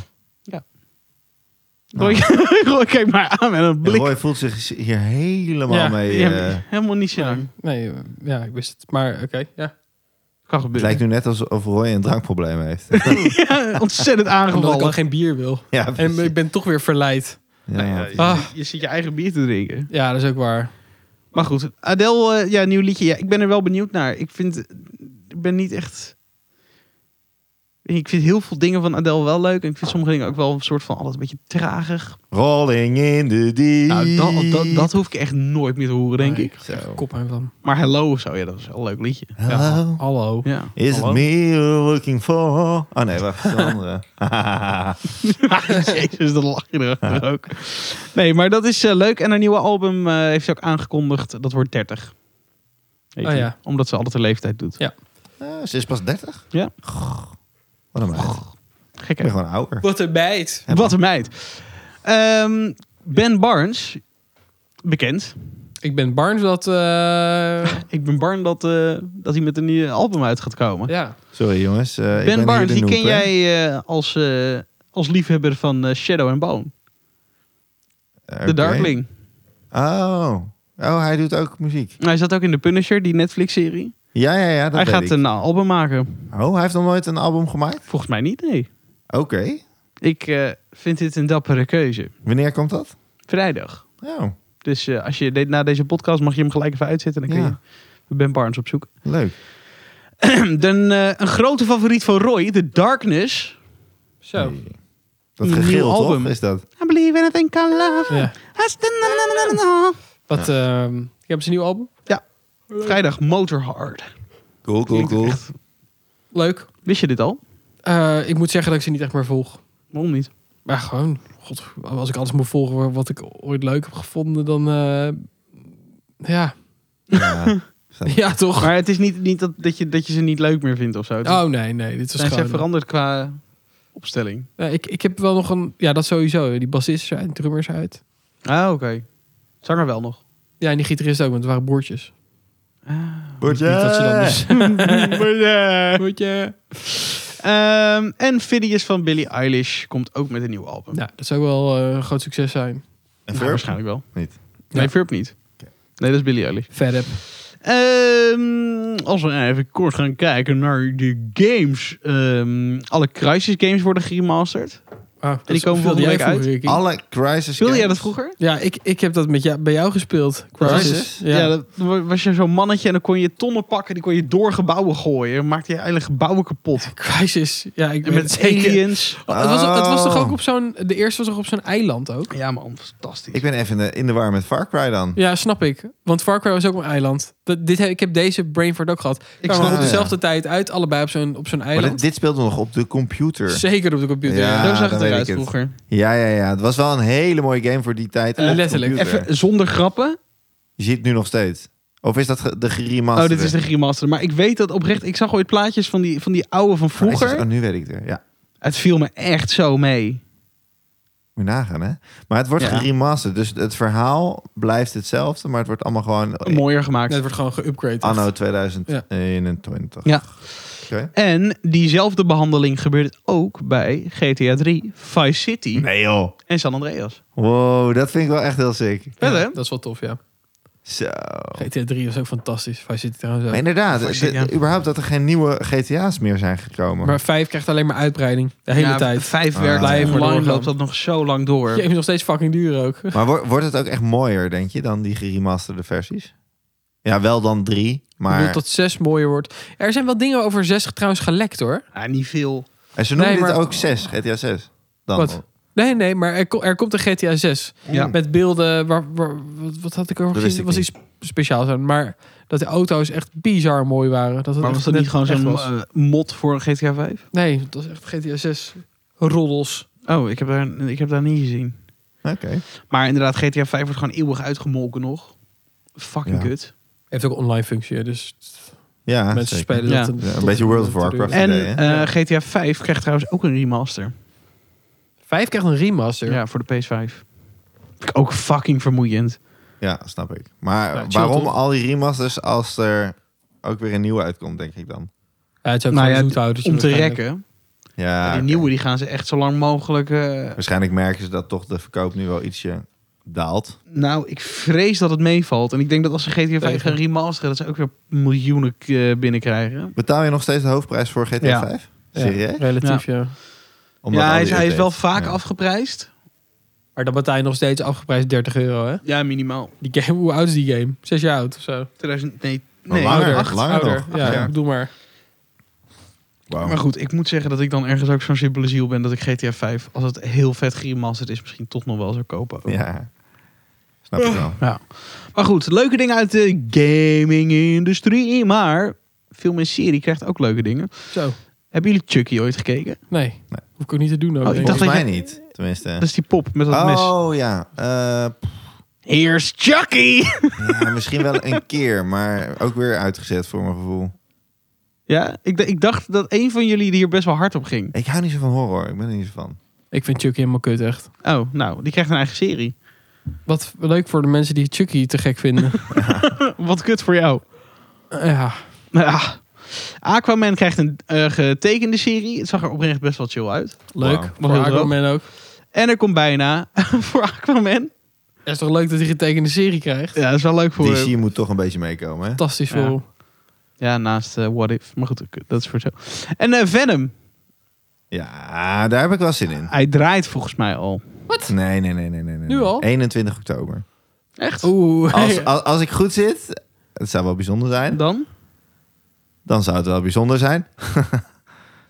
Roy, Roy, kijk maar aan met een En blik. Roy voelt zich hier helemaal Ja, mee. Ja, eh, helemaal niet zo lang. Ja, nee, eh, ja, ik wist het. Maar oké, ja. Kan het gebeuren. lijkt nu net alsof Roy een drankprobleem heeft. Ja, ontzettend Omdat ik al aangevallen. geen bier wil. ja, En precies. ik ben toch weer verleid. ja, ja. Je- Ah. Je zit je eigen bier te drinken. Ja, dat is ook waar. Maar goed, Adele, eh, ja, nieuw liedje. Ja, ik ben er wel benieuwd naar. Ik vind, ik ben niet echt... Ik vind heel veel dingen van Adele wel leuk. En ik vind sommige dingen ook wel een soort van alles een beetje tragig. Rolling in the deep. Nou, dat, dat, dat hoef ik echt nooit meer te horen, denk Nee, ik. Zo. Kop hem van. Maar Hello of zo, ja, dat is wel een leuk liedje. Ja. Hello. Hallo. Ja. Is it Hallo? me you're looking for? Oh nee, wacht, dat is de andere. Ah, Jezus, dat lach je erachter ook. Nee, maar dat is eh, leuk. En haar nieuwe album eh, heeft ze ook aangekondigd. Dat wordt 30. Heet Oh die. ja. Omdat ze altijd de leeftijd doet. Ah, ze is pas 30? Ja. Goh, Wat een meid. Ik Gek hè? ben gewoon ouder. Wat een meid. Wat een meid. Ehm, ben Barnes, bekend. Ik ben Barnes dat... eh, Ik ben Barnes dat, eh, dat hij met een nieuw album uit gaat komen. ja. Sorry jongens. eh, ik ben ben hier Barnes, de die noob, ken hè. jij eh, als, eh, als liefhebber van eh, Shadow and Bone. Oké. The Darkling. Oh. Oh, hij doet ook muziek. Hij zat ook in The Punisher, die Netflix-serie. Ja, ja, ja. Dat Hij weet gaat ik. een eh, album maken. Oh, hij heeft nog nooit een album gemaakt? Volgens mij niet, nee. Oké. Ik eh, vind dit een dappere keuze. Wanneer komt dat? Vrijdag. Oh, Dus eh, als je de- na deze podcast mag je hem gelijk even uitzetten. Dan kun Ja. je Ben Barnes opzoeken. leuk. Dan eh, een grote favoriet van Roy, The Darkness. Zo. Hey. Dat Een nieuw gegil, toch? album. Is dat? I believe anything can love. Ja. Has the na- na- na- na- na. Wat, ehm, je hebt zijn nieuw album? Vrijdag Motorhard. Cool, cool, cool. Leuk. Wist je dit al? Eh, ik moet zeggen dat ik ze niet echt meer volg. Waarom niet? Maar gewoon, god, als ik alles moet volgen wat ik ooit leuk heb gevonden, dan... eh, ja. Ja. ja, toch? Maar het is niet, niet dat, dat, je, dat je ze niet leuk meer vindt of zo. Het is- Oh nee, nee, dit was zijn ze gewoon... veranderd qua opstelling? Ja, ik, ik heb wel nog een... Ja, dat sowieso. Die bassist is uit, drummer is uit. Ah, oké. Zanger wel nog. Ja, en die gitarist ook, want het waren boertjes. Boertje! Niet dat ze dan dus... Ehm Boertje. en Phineas van Billie Eilish komt ook met een nieuw album. Ja, dat zou wel eh, een groot succes zijn. En Nou, Verb? waarschijnlijk wel. Niet. Nee, Ja. Verb niet. Oké. Nee, dat is Billie Eilish. Vet heb. Ehm, als we even kort gaan kijken naar de games. Ehm, alle Crisis games worden geremasterd. Ah, die komen volgende week uit. Alle Crisis Speelde jij games. dat vroeger? Ja, ik, ik heb dat met jou, bij jou gespeeld. Crisis? Ja. dat wa- was je zo'n mannetje en dan kon je tonnen pakken. Die kon je door gebouwen gooien. Maakte je eigen gebouwen kapot. Crisis. Ja, ik En ben het met zeker. aliens. Oh, Het, was, het was toch Oh. ook op zo'n... De eerste was toch op zo'n eiland ook? Ja man, fantastisch. Ik ben even in de, in de war met Far Cry dan. Ja, snap ik. Want Far Cry was ook een eiland. Dat, dit, heb- ik heb deze Brainford ook gehad. Ik kwam snap op het. dezelfde tijd uit, allebei op zo'n, op zo'n maar dit, eiland. dit speelde nog op de computer. Zeker op de computer. Ja. ja. Zo zag dan het weet eruit ik het. vroeger. Ja, ja, ja. Het was wel een hele mooie game voor die tijd. Eh, op letterlijk. computer. Even zonder grappen. Je ziet het nu nog steeds. Of is dat ge- de geremasterde? Oh, dit is de remaster. Maar ik weet dat oprecht. Ik zag ooit plaatjes van die, van die oude van Crisis- vroeger. Oh, nu weet ik het weer. Ja. Het viel me echt zo mee. Moet je nagaan, hè? Maar het wordt Ja. geremasterd. Dus het verhaal blijft hetzelfde. Maar het wordt allemaal gewoon Oh, eh, Mooier gemaakt. Dat wordt gewoon geüpgraded. anno 2021. Ja. Oké. En diezelfde behandeling gebeurt ook bij GTA 3, Vice City Nee, joh. en San Andreas. Wow, dat vind ik wel echt heel sick. Vet, hè? Ja, dat is wel tof, ja. Oh. Zo. GTA 3 was ook fantastisch. Vice City trouwens ook. Maar inderdaad, Vice City, de- ja. überhaupt dat er geen nieuwe GTA's meer zijn gekomen. Maar 5 krijgt alleen maar uitbreiding. De hele Ja, tijd. Vijf Ah. werkt Blijven lang, doorgaan. loopt dat nog zo lang door. Je is nog steeds fucking duur ook. Maar wor- wordt het ook echt mooier, denk je, dan die geremasterde versies? Ja, wel dan drie, Ik bedoel, maar... tot 6 mooier wordt. Er zijn wel dingen over 6 trouwens gelekt hoor. Ah, niet veel. En ze noemen Nee, dit maar- ook 6, GTA 6. Dan. Wat? Nee, nee, maar er, ko- er komt een GTA 6. Ja. Met beelden, waar, waar- wat, wat had ik over Dat gezien? wist Het ik was iets speciaals aan. Maar dat de auto's echt bizar mooi waren. Dat het Maar echt was dat net niet gewoon echt zo'n was. eh, mod voor GTA 5? Nee, dat was echt GTA 6. Roddels. Oh, ik heb, daar, ik heb daar niet gezien. Hmm, Oké. Maar inderdaad, GTA 5 wordt gewoon eeuwig uitgemolken nog. Fucking Ja. kut. Heeft ook online functie, hè, dus Ja, mensen zeker. spelen Ja. dat. Ja, een beetje World of Warcraft. En idee, hè? eh, GTA 5 krijgt trouwens ook een remaster. 5 krijgt een remaster. Ja, voor de PS5. Vind ik ook fucking vermoeiend. Ja, snap ik. Maar Ja, chill, waarom toch? al die remasters dus als er ook weer een nieuwe uitkomt, denk ik dan? Ja, het is ook Nou gewoon ja, zoet houden, dus Om te waarschijnlijk- rekken. Ja, Maar die Ah, oké. nieuwe die gaan ze echt zo lang mogelijk... eh, Waarschijnlijk merken ze dat toch de verkoop nu wel ietsje daalt. Nou, ik vrees dat het meevalt. En ik denk dat als ze GTA 5 Tegen. gaan remasteren, dat ze ook weer miljoenen eh, binnenkrijgen. Betaal je nog steeds de hoofdprijs voor GTA Ja. 5? Ja, Serieus? Relatief, ja. Omdat ja, al hij is, die hij is wel updates- vaak ja. afgeprijsd. Maar dan betaal je nog steeds afgeprijsd 30 euro, hè? Ja, minimaal. Die game, hoe oud is die game? Zes jaar oud of zo? 2000, nee, Maar nee langer, acht. langer Ouder. nog. Ja, Acht jaar. doe maar. Wauw. Maar goed, ik moet zeggen dat ik dan ergens ook zo'n simpele ziel ben dat ik GTA 5, als het heel vet geremasterd is, misschien toch nog wel zou kopen. ook. Ja, snap ik wel. Ja. Maar goed, leuke dingen uit de gaming-industrie. Maar film en serie krijgt ook leuke dingen. Zo. Hebben jullie Chucky ooit gekeken? Nee. Hoef ik ook niet te doen. Ook, Oh, ik denk dacht Volgens dat mij je- niet, Dat tenminste. is die pop met dat mes. Oh ja, eh, Here's Chucky! ja, misschien wel een keer, maar ook weer uitgezet voor mijn gevoel. Ja, ik, d- ik dacht dat een van jullie hier best wel hard op ging. Ik hou niet zo van horror, ik ben er niet zo van. Ik vind Chucky helemaal kut, echt. Oh, nou, die krijgt een eigen serie. Wat leuk voor de mensen die Chucky te gek vinden. Wat kut voor jou. ja. Ja. Aquaman krijgt een eh, getekende serie. Het zag er oprecht best wel chill uit. Leuk. Wauw. Maar Heel Aquaman ook. En er komt bijna voor Aquaman. Het is toch leuk dat hij getekende serie krijgt? Ja, dat is wel leuk voor hem. DC moet toch een beetje meekomen, hè? Fantastisch Ja. voor hem. Ja, naast eh, What If. Maar goed, dat is voor zo. En eh, Venom. Ja, daar heb ik wel zin in. Hij draait volgens mij al. Nee, nee, nee, nee, nee. nee. Nu al? 21 oktober. Echt? Oeh. Als, als, als ik goed zit, het zou wel bijzonder zijn. Dan? Dan zou het wel bijzonder zijn.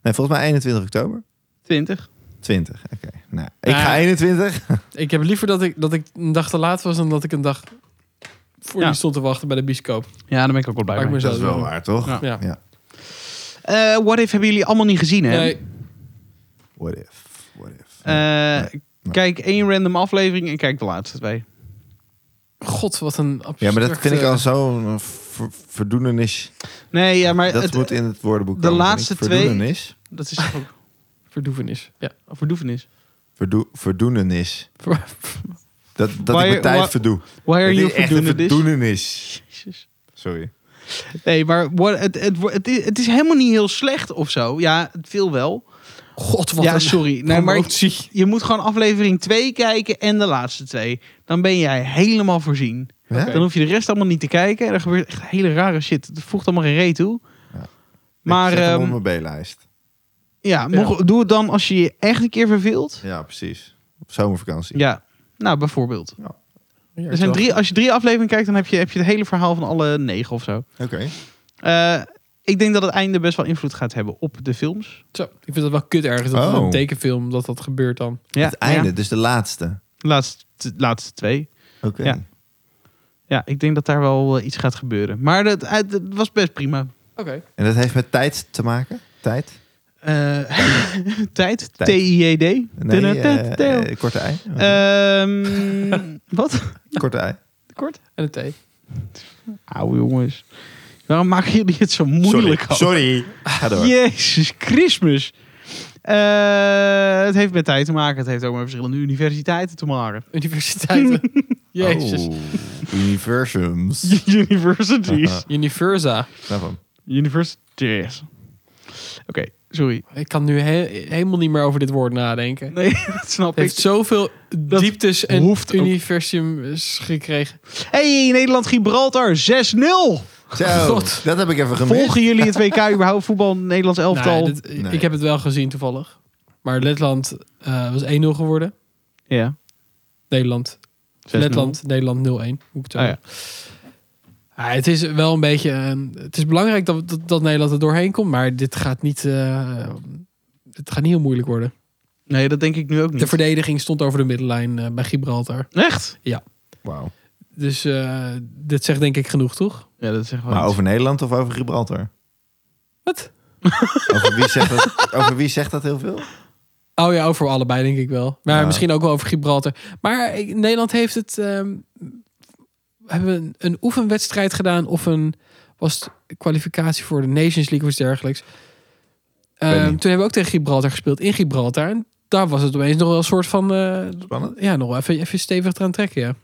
nee, volgens mij 21 oktober. 20. 20, oké. Nou, ik ga Ja. 21. Ik heb liever dat ik, dat ik een dag te laat was dan dat ik een dag voor Ja. die stond te wachten bij de bioscoop. Ja, daar ben ik ook wel blij Maakt mee. me zo Dat is wel doen. waar, toch? Ja. Ja. Eh, What If hebben jullie allemaal niet gezien, hè? Nee, What if, what if. Eh, Kijk één random aflevering en kijk de laatste twee. god, wat een absurd. ja, maar dat vind ik al zo'n ver, verdoenenis. Nee, ja, maar Dat het, moet in het woordenboek de komen, vind laatste ik. twee- Verdoenenis? dat is toch ook Verdoevenis. Ja. Oh, verdoevenis. Verdoe, verdoenenis. Dat, dat Waar- ik mijn tijd waar- verdoe. Why are Het you is echt een verdoening this? verdoenenis. Jezus. Sorry. Nee, maar what, het, het, wo- het, is, het is helemaal niet heel slecht of zo. Ja, veel wel. God, wat ja, een sorry. Nee, maar ik- promotie. je moet gewoon aflevering 2 kijken en de laatste twee. Dan ben jij helemaal voorzien. Ja? Oké. Dan hoef je de rest allemaal niet te kijken. En er gebeurt echt hele rare shit. Het voegt allemaal geen reet toe. Ja. Maar ik zet hem ehm, op mijn B-lijst. ja, mocht- doe het dan als je je echt een keer verveelt. Ja, precies. Op zomervakantie. Ja, nou bijvoorbeeld. Ja, Er zijn drie, als je drie afleveringen kijkt, dan heb je, heb je het hele verhaal van alle negen of zo. Oké. Eh, ik denk dat het einde best wel invloed gaat hebben op de films. Zo, ik vind dat wel kut ergens. Dat Oh. een tekenfilm, dat dat gebeurt dan. Ja, het einde, ja. dus de laatste. laatste, laatste twee. Oké. Ja. Ja, ik denk dat daar wel eh, iets gaat gebeuren. Maar dat, het, het was best prima. Oké. En dat heeft met tijd te maken? Tijd? Eh, tijd, Tijd. T-I-E-D. Nee, Dunne eh, tet, teel. eh, korte ei. Ehm, Wat? Korte ei. Kort? En een thee. Auw jongens. Waarom maken jullie het zo moeilijk? Sorry. ook? Sorry. Ga door. Jezus Christmas. Eh, het heeft met tijd te maken. Het heeft ook met verschillende universiteiten te maken. Universiteiten. Jezus. Oh, universums. Nou, Universities. Universa. Snap hem. Universities. Oké, sorry. Ik kan nu he- helemaal niet meer over dit woord nadenken. Nee, dat snap Het heeft ik. zoveel Dat dieptes en hoeft ook- universums gekregen. Hey, Nederland Gibraltar 6-0. Zo, God. dat heb ik even gemist. Volgen jullie het WK überhaupt voetbal Nederlands elftal? Nou, dit- Nee. Ik heb het wel gezien toevallig. Maar Letland eh, was 1-0 geworden. Ja. Nederland. 6-0. Letland, Nederland 0-1. Hoe ik het zo Ah, noem. Ah, het is wel een beetje. een- het is belangrijk dat, dat, dat Nederland er doorheen komt. Maar dit gaat niet. eh, het gaat niet heel moeilijk worden. Nee, dat denk ik nu ook niet. De verdediging stond over de middenlijn eh, bij Gibraltar. Echt? Wauw. Dus eh, dit zegt denk ik genoeg, toch? Ja, dat is echt wel. Maar iets. over Nederland of over Gibraltar? Wat? Over wie zegt dat, over wie zegt dat heel veel? Oh ja, over allebei denk ik wel. Maar Ja. misschien ook wel over Gibraltar. Maar eh, Nederland heeft het. ehm, we hebben een, een oefenwedstrijd gedaan of een was het kwalificatie voor de Nations League of iets dergelijks. Ehm, Weet niet. toen hebben we ook tegen Gibraltar gespeeld in Gibraltar. En daar was het opeens nog wel een soort van. eh, Spannend. ja, nog wel even, even stevig eraan trekken. Ja.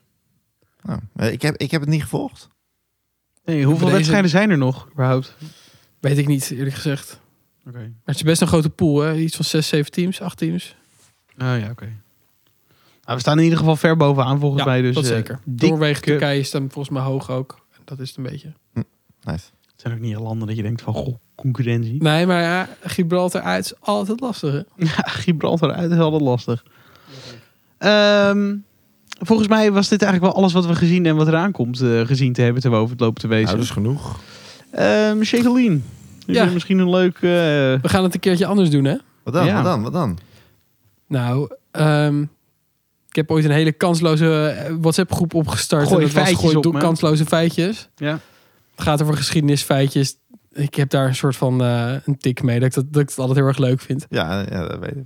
Nou, eh, ik, heb, ik heb het niet gevolgd. Nee, hoeveel Deze- wedstrijden zijn er nog überhaupt? Weet ik niet, eerlijk gezegd. Oké. Maar het is best een grote pool, hè? Iets van zes, zeven teams, acht teams. Oh ja, oké. Nou, we staan in ieder geval ver bovenaan volgens Ja, mij. Dus, dat eh, zeker. dik- Noorwegen, Turkije staan volgens mij hoog ook. En Dat is het een beetje. Nice. Het zijn ook niet landen dat je denkt van, goh, concurrentie. Nee, maar ja, Gibraltar uit is altijd lastig. Hè? Ja, Gibraltar uit is altijd lastig. Ehm, volgens mij was dit eigenlijk wel alles wat we gezien en wat eraan komt eh, gezien te hebben terwijl we over het lopen te wezen. Nou, dat is genoeg. Ehm, Jacqueline, heb Ja. je misschien een leuk... eh, We gaan het een keertje anders doen, hè? Wat dan? Ja. Wat dan? Wat dan? Nou, ehm, ik heb ooit een hele kansloze eh, WhatsApp-groep opgestart. Gooi en dat was feitjes gooi op, doe- man. kansloze feitjes. ja. Het gaat over geschiedenisfeitjes. Ik heb daar een soort van eh, een tik mee, dat ik, dat, dat ik het altijd heel erg leuk vind. Ja, ja dat weet ik.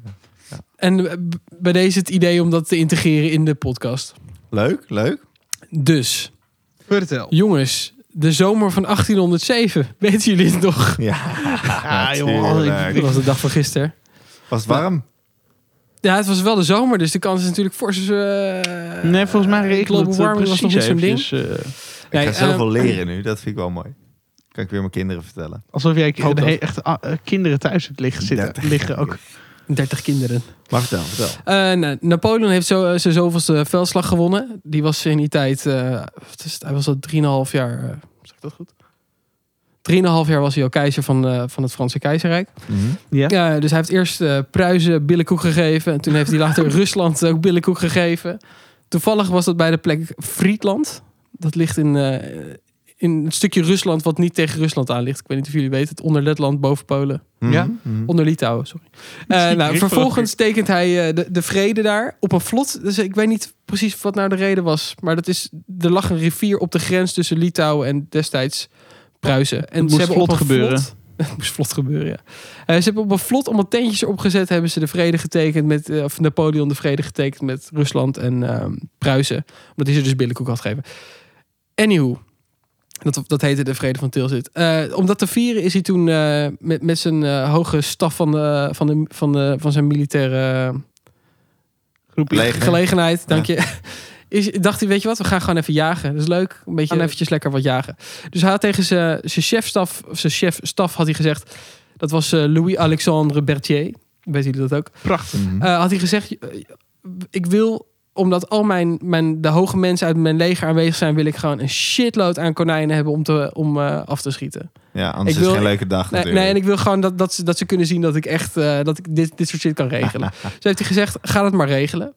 En eh, b- bij deze het idee om dat te integreren in de podcast. Leuk, leuk. Dus, Vertel. jongens, de zomer van 1807. Weten jullie het nog? Ja, Ah, joh, natuurlijk. ik- Dat was de dag van gisteren. Was het warm? Ja, het was wel de zomer, dus de kans is natuurlijk fors. eh Nee, volgens mij eh, regelt global het eh, warming was nog niet precies zo'n ding. eventjes, eh, Nee, ik ga zoveel eh, leren nu, dat vind ik wel mooi. Kan ik weer mijn kinderen vertellen. alsof jij hoop de dat. he- echt ah, eh, kinderen thuis hebt liggen, Dertig. zitten, liggen ook. 30 kinderen. Maar vertel, vertel. Eh, nou, Napoleon heeft zo, eh, zijn zoveelste veldslag gewonnen. Die was in die tijd, eh, wat is het, hij was al 3,5 jaar, eh, zeg ik dat goed? 3,5 jaar was hij al keizer van, eh, van het Franse keizerrijk. Mhm. Ja. Ja, dus hij heeft eerst eh, Pruisen billenkoek gegeven. En toen heeft hij later Rusland ook billenkoek gegeven. Toevallig was dat bij de plek Friedland. Dat ligt in, eh, in het stukje Rusland wat niet tegen Rusland aan ligt. Ik weet niet of jullie weten. Het onder Letland, boven Polen. Mhm. Ja. Mhm. Onder Litouwen, sorry. Eh, Zie ik nou, niet, vervolgens tekent hij eh, de, de vrede daar op een vlot. Dus ik weet niet precies wat nou de reden was. Maar dat is, er lag een rivier op de grens tussen Litouwen en destijds Pruisen. En Het moest op vlot een gebeuren. vlot- het moest vlot gebeuren, ja. Eh, ze hebben op een vlot allemaal tentjes opgezet. Hebben ze de vrede getekend met... eh, of Napoleon de vrede getekend met Rusland en ehm, Pruisen. Omdat hij ze dus billenkoek had gegeven. Anywho. Dat, dat heette de Vrede van Tilsit. Eh, om dat te vieren is hij toen eh, met, met zijn eh, hoge staf van, de, van, de, van, de, van zijn militaire Groepje. Leger. gelegenheid, dank je. Is, dacht hij, weet je wat, we gaan gewoon even jagen. Dat is leuk, een beetje Ja. eventjes lekker wat jagen. Dus hij had tegen zijn zijn chefstaf, of zijn chefstaf had hij gezegd... Dat was eh, Louis-Alexandre Berthier. Weten jullie dat ook? Prachtig. Mhm. Eh, had hij gezegd, eh, ik wil, omdat al mijn, mijn, de hoge mensen uit mijn leger aanwezig zijn... wil ik gewoon een shitload aan konijnen hebben om, te, om eh, af te schieten. Ja, anders ik is het wil- geen leuke dag Nee, natuurlijk. nee, en ik wil gewoon dat, dat, ze, dat ze kunnen zien dat ik echt eh, dat ik dit, dit soort shit kan regelen. dus heeft hij gezegd, ga dat maar regelen.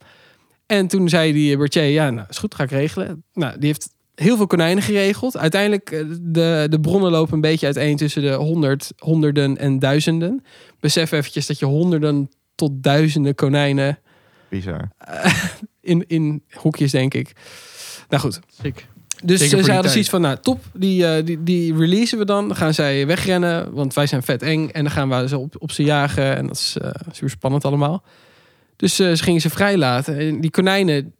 En toen zei die Berthier, ja, nou, is goed, ga ik regelen. Nou, die heeft heel veel konijnen geregeld. Uiteindelijk, eh, de, de bronnen lopen een beetje uiteen tussen de honderd, honderden en duizenden. Besef eventjes dat je honderden tot duizenden konijnen Bizar. in, in hoekjes, denk ik. Nou goed, Sick. Zeker dus ze voor die hadden tijd. zoiets van, nou top, die, eh, die, die releasen we dan. Dan gaan zij wegrennen, want wij zijn vet eng. En dan gaan we ze op, op ze jagen. En dat is eh, super spannend allemaal. Dus eh, ze gingen ze vrijlaten. En die konijnen,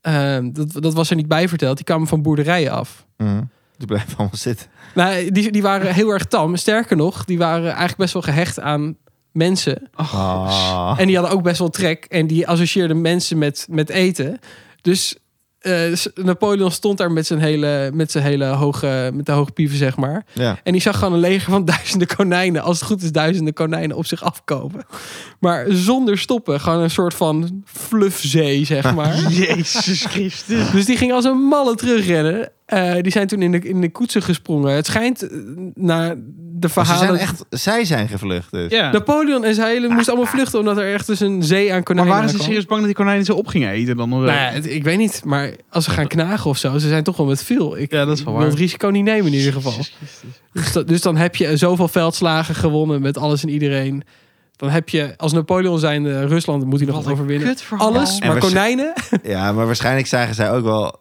eh, dat, dat was er niet bij verteld. Die kwamen van boerderijen af. Mhm. Die blijven allemaal zitten. Nou, die, die waren heel erg tam. Sterker nog, die waren eigenlijk best wel gehecht aan mensen. Oh. Oh, Ah. En die hadden ook best wel trek. En die associeerden mensen met, met eten. Dus eh, s- Napoleon stond daar met zijn hele, met zijn hele hoge, met de hoge pieven, zeg maar. Ja. En die zag gewoon een leger van duizenden konijnen. Als het goed is, duizenden konijnen op zich afkomen. Maar zonder stoppen. Gewoon een soort van fluffzee, zeg maar. Jezus Christus. Dus die ging als een malle terugrennen. Eh, die zijn toen in de, in de koetsen gesprongen. Het schijnt eh, naar de Maar ze verhalen... zijn echt, Ah. zij zijn gevlucht dus. Ja. Napoleon en zijn hele moesten allemaal vluchten... omdat er echt dus een zee aan Maar konijnen waren ze aankwam. serieus bang dat die konijnen ze op gingen eten dan? Nou ja, het- ik weet niet, maar als ze gaan knagen of zo, ze zijn toch wel met veel. Ik, Ja, dat is ik wel wil waar. het risico niet nemen in ieder geval. Dus, dat- dus dan heb je zoveel veldslagen gewonnen met alles en iedereen. Dan heb je, als Napoleon zijn eh, Rusland, moet hij nog Wat wat een overwinnen. kutverhaal. Alles, En maar we- konijnen. Ja, maar waarschijnlijk zagen zij ook wel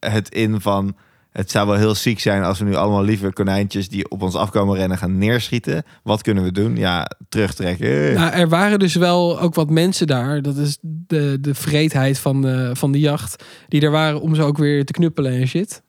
het in van... Het zou wel heel ziek zijn als we nu allemaal liever konijntjes... die op ons afkomen rennen gaan neerschieten. Wat kunnen we doen? Ja, terugtrekken. Eh. Nou, er waren dus wel ook wat mensen daar. Dat is de, de vreedheid van de, van de jacht. Die er waren om ze ook weer te knuppelen en shit.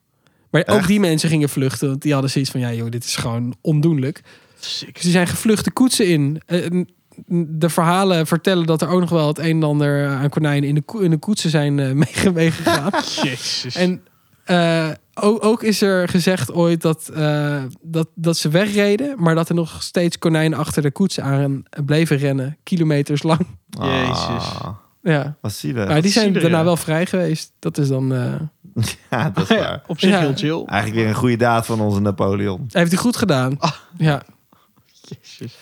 Maar ook Echt? die mensen gingen vluchten. Want die hadden zoiets van, ja joh, dit is gewoon ondoenlijk. Ze zijn gevlucht de koetsen in. Eh, n- n- De verhalen vertellen dat er ook nog wel het een en ander eh, aan konijnen in de, ko- in de koetsen zijn eh, meege- meegegaan. Jezus. En eh, ook, ook is er gezegd ooit dat, eh, dat, dat ze wegreden, maar dat er nog steeds konijnen achter de koets aan bleven rennen, kilometers lang. Jezus. Ah, Ja. wat zielig. Maar die zijn zielig, daarna ja. wel vrij geweest. Dat is dan. eh, Ja, dat is waar. op zich Ja. heel chill. Eigenlijk weer een goede daad van onze Napoleon. Hij heeft hij goed gedaan. Ja. Jezus.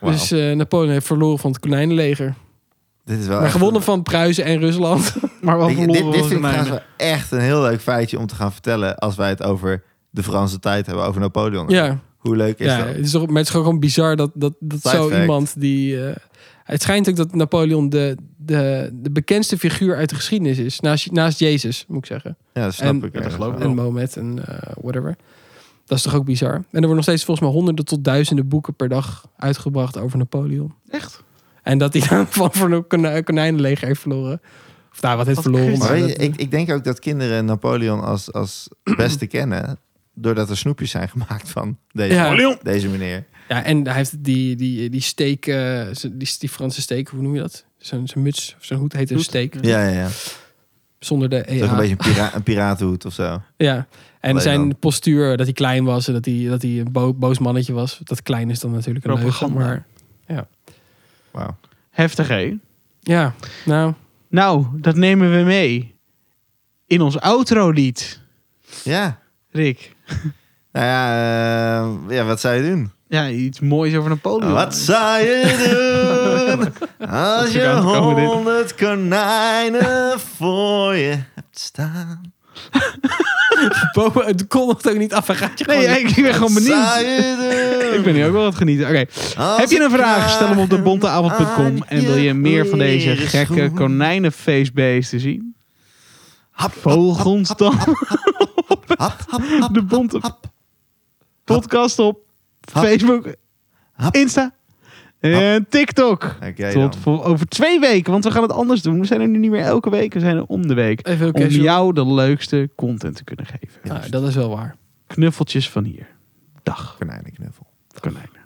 Wauw. Dus eh, Napoleon heeft verloren van het konijnenleger. dit is wel Maar echt- gewonnen van Pruisen en Rusland. Maar wel Weet je, dit, verloren dit was vind ik het trouwens mijne. wel echt een heel leuk feitje om te gaan vertellen... als wij het over de Franse tijd hebben, over Napoleon. ja. Hoe leuk is Ja, dat? het is toch, maar het is gewoon gewoon bizar dat, dat, dat Side zo fact. iemand die... eh, het schijnt ook dat Napoleon de, de, de bekendste figuur uit de geschiedenis is. Naast, naast Jezus, moet ik zeggen. Ja, dat snap En- ik. Ja, dat ergens geloof ik wel. En Mohammed en eh, whatever. Dat is toch ook bizar. En er worden nog steeds volgens mij honderden tot duizenden boeken per dag uitgebracht over Napoleon. Echt? En dat hij dan van voor een kon- konijnenleger heeft verloren. Of nou, wat heeft Wat verloren. kut. Maar Maar weet je, dat- ik, ik denk ook dat kinderen Napoleon als, als beste kennen... doordat er snoepjes zijn gemaakt van deze, Ja. Napoleon. deze meneer. ja, en hij heeft die, die, die steek, eh, die, die Franse steek, hoe noem je dat? Zo'n zo'n muts of zo'n hoed heet een Hoed. steek. Ja, ja, ja. Zonder de EA. Het is ook een beetje een, pira een piratenhoed of zo. Ja, en Alleen zijn dan. postuur, dat hij klein was en dat hij, dat hij een bo- boos mannetje was. Dat klein is dan natuurlijk een leugen, Propaganda. maar Wauw. Heftig, hè? ja, nou, Nou, dat nemen we mee. In ons outro-lied, Ja. Rick. Nou ja, eh, ja, wat zou je doen? Ja, iets moois over Napoleon. Wat zou je doen als is er je aan te komen, dit? honderd konijnen voor je hebt staan? Bobo, het kon nog ook niet af. Hij gaat je Nee, gewoon... ik, ik ben gewoon Wat zou benieuwd. je doen? Ik ben hier ook wel wat genieten. Oké. Als Heb je een ik vraag? Stel hem op vragen debonteavond.com. aan En wil je meer van deze leren gekke schoen? konijnenfeestbeesten zien? Hap, Vogels dan Hap, hap, hap, de bonte hap. podcast op Hap. Facebook, Hap. Insta en TikTok. Oké Tot dan. voor over twee weken, want we gaan het anders doen. We zijn er nu niet meer elke week, we zijn er om de week. Even Nou, Om oké, jou de leukste content te kunnen geven. nou, dat is wel waar. Knuffeltjes van hier. Dag, Konijnenknuffel. konijnen.